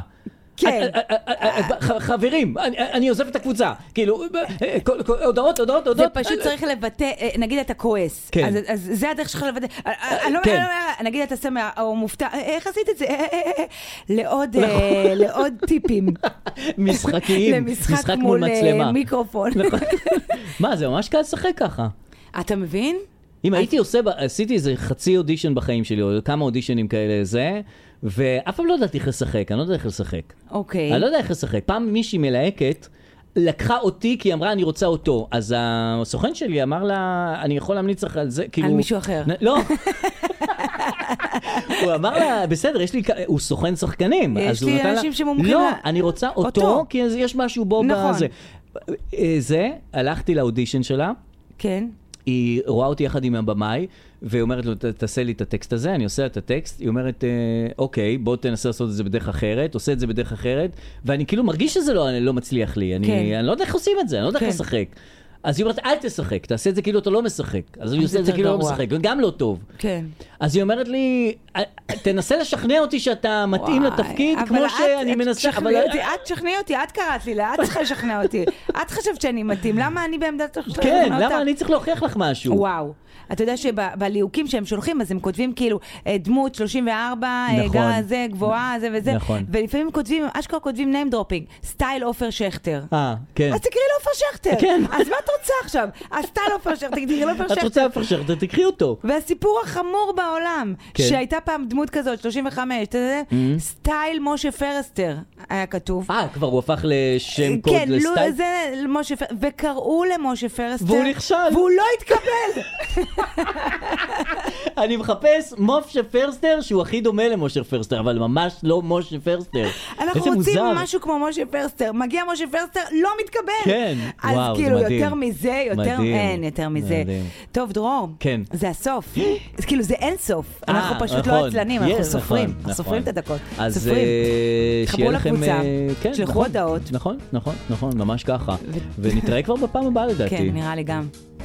Speaker 2: כן.
Speaker 1: אה, אה, אה, אה, אה, ח- חברים, אני- אה, אני עוזב את הקבוצה, כאילו, אה, אה, כל- כל- הודעות, הודעות,
Speaker 2: זה
Speaker 1: הודעות.
Speaker 2: פשוט צריך לבטא, אה, נגיד אתה כועס,
Speaker 1: כן.
Speaker 2: אז, אז זה הדרך שלך לבטא, אה, אה, אני לא
Speaker 1: כן.
Speaker 2: מבינה, אני לא מבינה, נגיד אתה שמח או מופתע, אה, איך עשית את זה? אה, אה, אה, אה. לעוד,
Speaker 1: לא.
Speaker 2: אה, לעוד טיפים.
Speaker 1: משחקיים, משחק מול
Speaker 2: אה,
Speaker 1: מצלמה.
Speaker 2: מיקרופון.
Speaker 1: נכון. מה, זה ממש קל לשחק ככה.
Speaker 2: אתה מבין?
Speaker 1: אם הייתי עושה, ב- עשיתי איזה חצי אודישן בחיים שלי, או כמה אודישנים כאלה זה, ואף פעם לא ידעתי איך לשחק, אני לא יודע איך לשחק.
Speaker 2: אוקיי.
Speaker 1: אני לא יודע איך לשחק. פעם מישהי מלהקת, לקחה אותי כי היא אמרה אני רוצה אותו. אז הסוכן שלי אמר לה, אני יכול להמליץ לך על זה, כאילו...
Speaker 2: מישהו אחר.
Speaker 1: נ- לא. הוא אמר לה, בסדר, יש לי, כ- הוא סוכן שחקנים.
Speaker 2: יש
Speaker 1: אז הוא
Speaker 2: לי
Speaker 1: נתן לה-
Speaker 2: אנשים שמומחים
Speaker 1: לא,
Speaker 2: לה-
Speaker 1: אני רוצה אותו,
Speaker 2: אותו.
Speaker 1: כי אז יש משהו בו
Speaker 2: נכון.
Speaker 1: בזה. אה, זה, הלכתי לאודישן שלה.
Speaker 2: כן.
Speaker 1: היא רואה אותי יחד עם הבמאי, והיא אומרת לו, "ת- תעשה לי את הטקסט הזה, אני עושה את הטקסט. היא אומרת, "אה, אוקיי, בוא תנסה לעשות את זה בדרך אחרת, עושה את זה בדרך אחרת, ואני כאילו מרגיש שזה לא, לא מצליח לי, אני,
Speaker 2: כן.
Speaker 1: אני לא יודע איך עושים את זה, אני לא יודע
Speaker 2: כן.
Speaker 1: איך לשחק. אז היא אומרת, אל תשחק, תעשה את זה כאילו אתה לא משחק. אז אני עושה את זה
Speaker 2: יותר
Speaker 1: כאילו לא
Speaker 2: גרוע.
Speaker 1: משחק, גם לא טוב.
Speaker 2: כן.
Speaker 1: אז היא אומרת לי, "אה, תנסה לשכנע אותי שאתה מתאים
Speaker 2: וואי,
Speaker 1: לתפקיד,
Speaker 2: אבל
Speaker 1: כמו
Speaker 2: את-
Speaker 1: שאני
Speaker 2: את
Speaker 1: מנסה,
Speaker 2: תשכנעי אותי, את תשכנעי אותי, את קראת לי לה, את צריכה לשכנע אותי. את חשבת שאני מתאים, למה אני בעמדת לשכנע אותך?
Speaker 1: כן, למה אני צריך להוכיח לך משהו?
Speaker 2: וואו. אתה יודע שבליהוקים שהם שולחים, אז הם כותבים כאילו אה, דמות 34, אה,
Speaker 1: נכון.
Speaker 2: גרה זה, גבוהה, זה וזה.
Speaker 1: נכון.
Speaker 2: ולפעמים כותבים, הם אשכרה כותבים name dropping, סטייל עופר שכטר.
Speaker 1: אה, כן.
Speaker 2: אז תקראי לעופר שכטר.
Speaker 1: כן.
Speaker 2: אז מה את רוצה עכשיו? אז סטייל עופר שכטר, תקראי לעופר
Speaker 1: את
Speaker 2: שכטר.
Speaker 1: רוצה לפרשך, תקחי אותו.
Speaker 2: והסיפור החמור
Speaker 1: כן.
Speaker 2: בעולם,
Speaker 1: Mm-hmm.
Speaker 2: כן. שהייתה פעם דמות כזאת, 35, אתה יודע, סטייל משה פרסטר היה כתוב.
Speaker 1: אה, כבר הוא הפך לשם קוד
Speaker 2: כן, לו,
Speaker 1: לסטייל?
Speaker 2: זה משה פרסטר, וקראו למשה פרסטר.
Speaker 1: והוא נכשל.
Speaker 2: והוא לא התקבל.
Speaker 1: אני מחפש משה פרסטר שהוא הכי דומה למשה פרסטר, אבל ממש לא משה פרסטר.
Speaker 2: אנחנו
Speaker 1: איזה
Speaker 2: רוצים
Speaker 1: מוזר.
Speaker 2: משהו כמו משה פרסטר. מגיע משה פרסטר, לא מתקבל.
Speaker 1: כן.
Speaker 2: אז
Speaker 1: וואו, זה
Speaker 2: כאילו,
Speaker 1: מדהים.
Speaker 2: יותר מזה, יותר...
Speaker 1: מדהים.
Speaker 2: אין, יותר מזה.
Speaker 1: מדהים.
Speaker 2: טוב, דרור.
Speaker 1: כן.
Speaker 2: זה הסוף. אז כאילו, זה אין סוף.
Speaker 1: אה,
Speaker 2: אנחנו פשוט
Speaker 1: נכון.
Speaker 2: לא עצלנים,
Speaker 1: כן,
Speaker 2: אנחנו
Speaker 1: נכון,
Speaker 2: סופרים.
Speaker 1: נכון.
Speaker 2: אנחנו סופרים את הדקות.
Speaker 1: אז
Speaker 2: סופרים.
Speaker 1: אה,
Speaker 2: תתחברו
Speaker 1: שיהיה לכם...
Speaker 2: לקבוצה,
Speaker 1: אה, כן,
Speaker 2: תשלחו
Speaker 1: נכון,
Speaker 2: הודעות.
Speaker 1: נכון, נכון, נכון, ממש ככה. ונתראה כבר בפעם הבאה לדעתי.
Speaker 2: כן, נראה לי גם.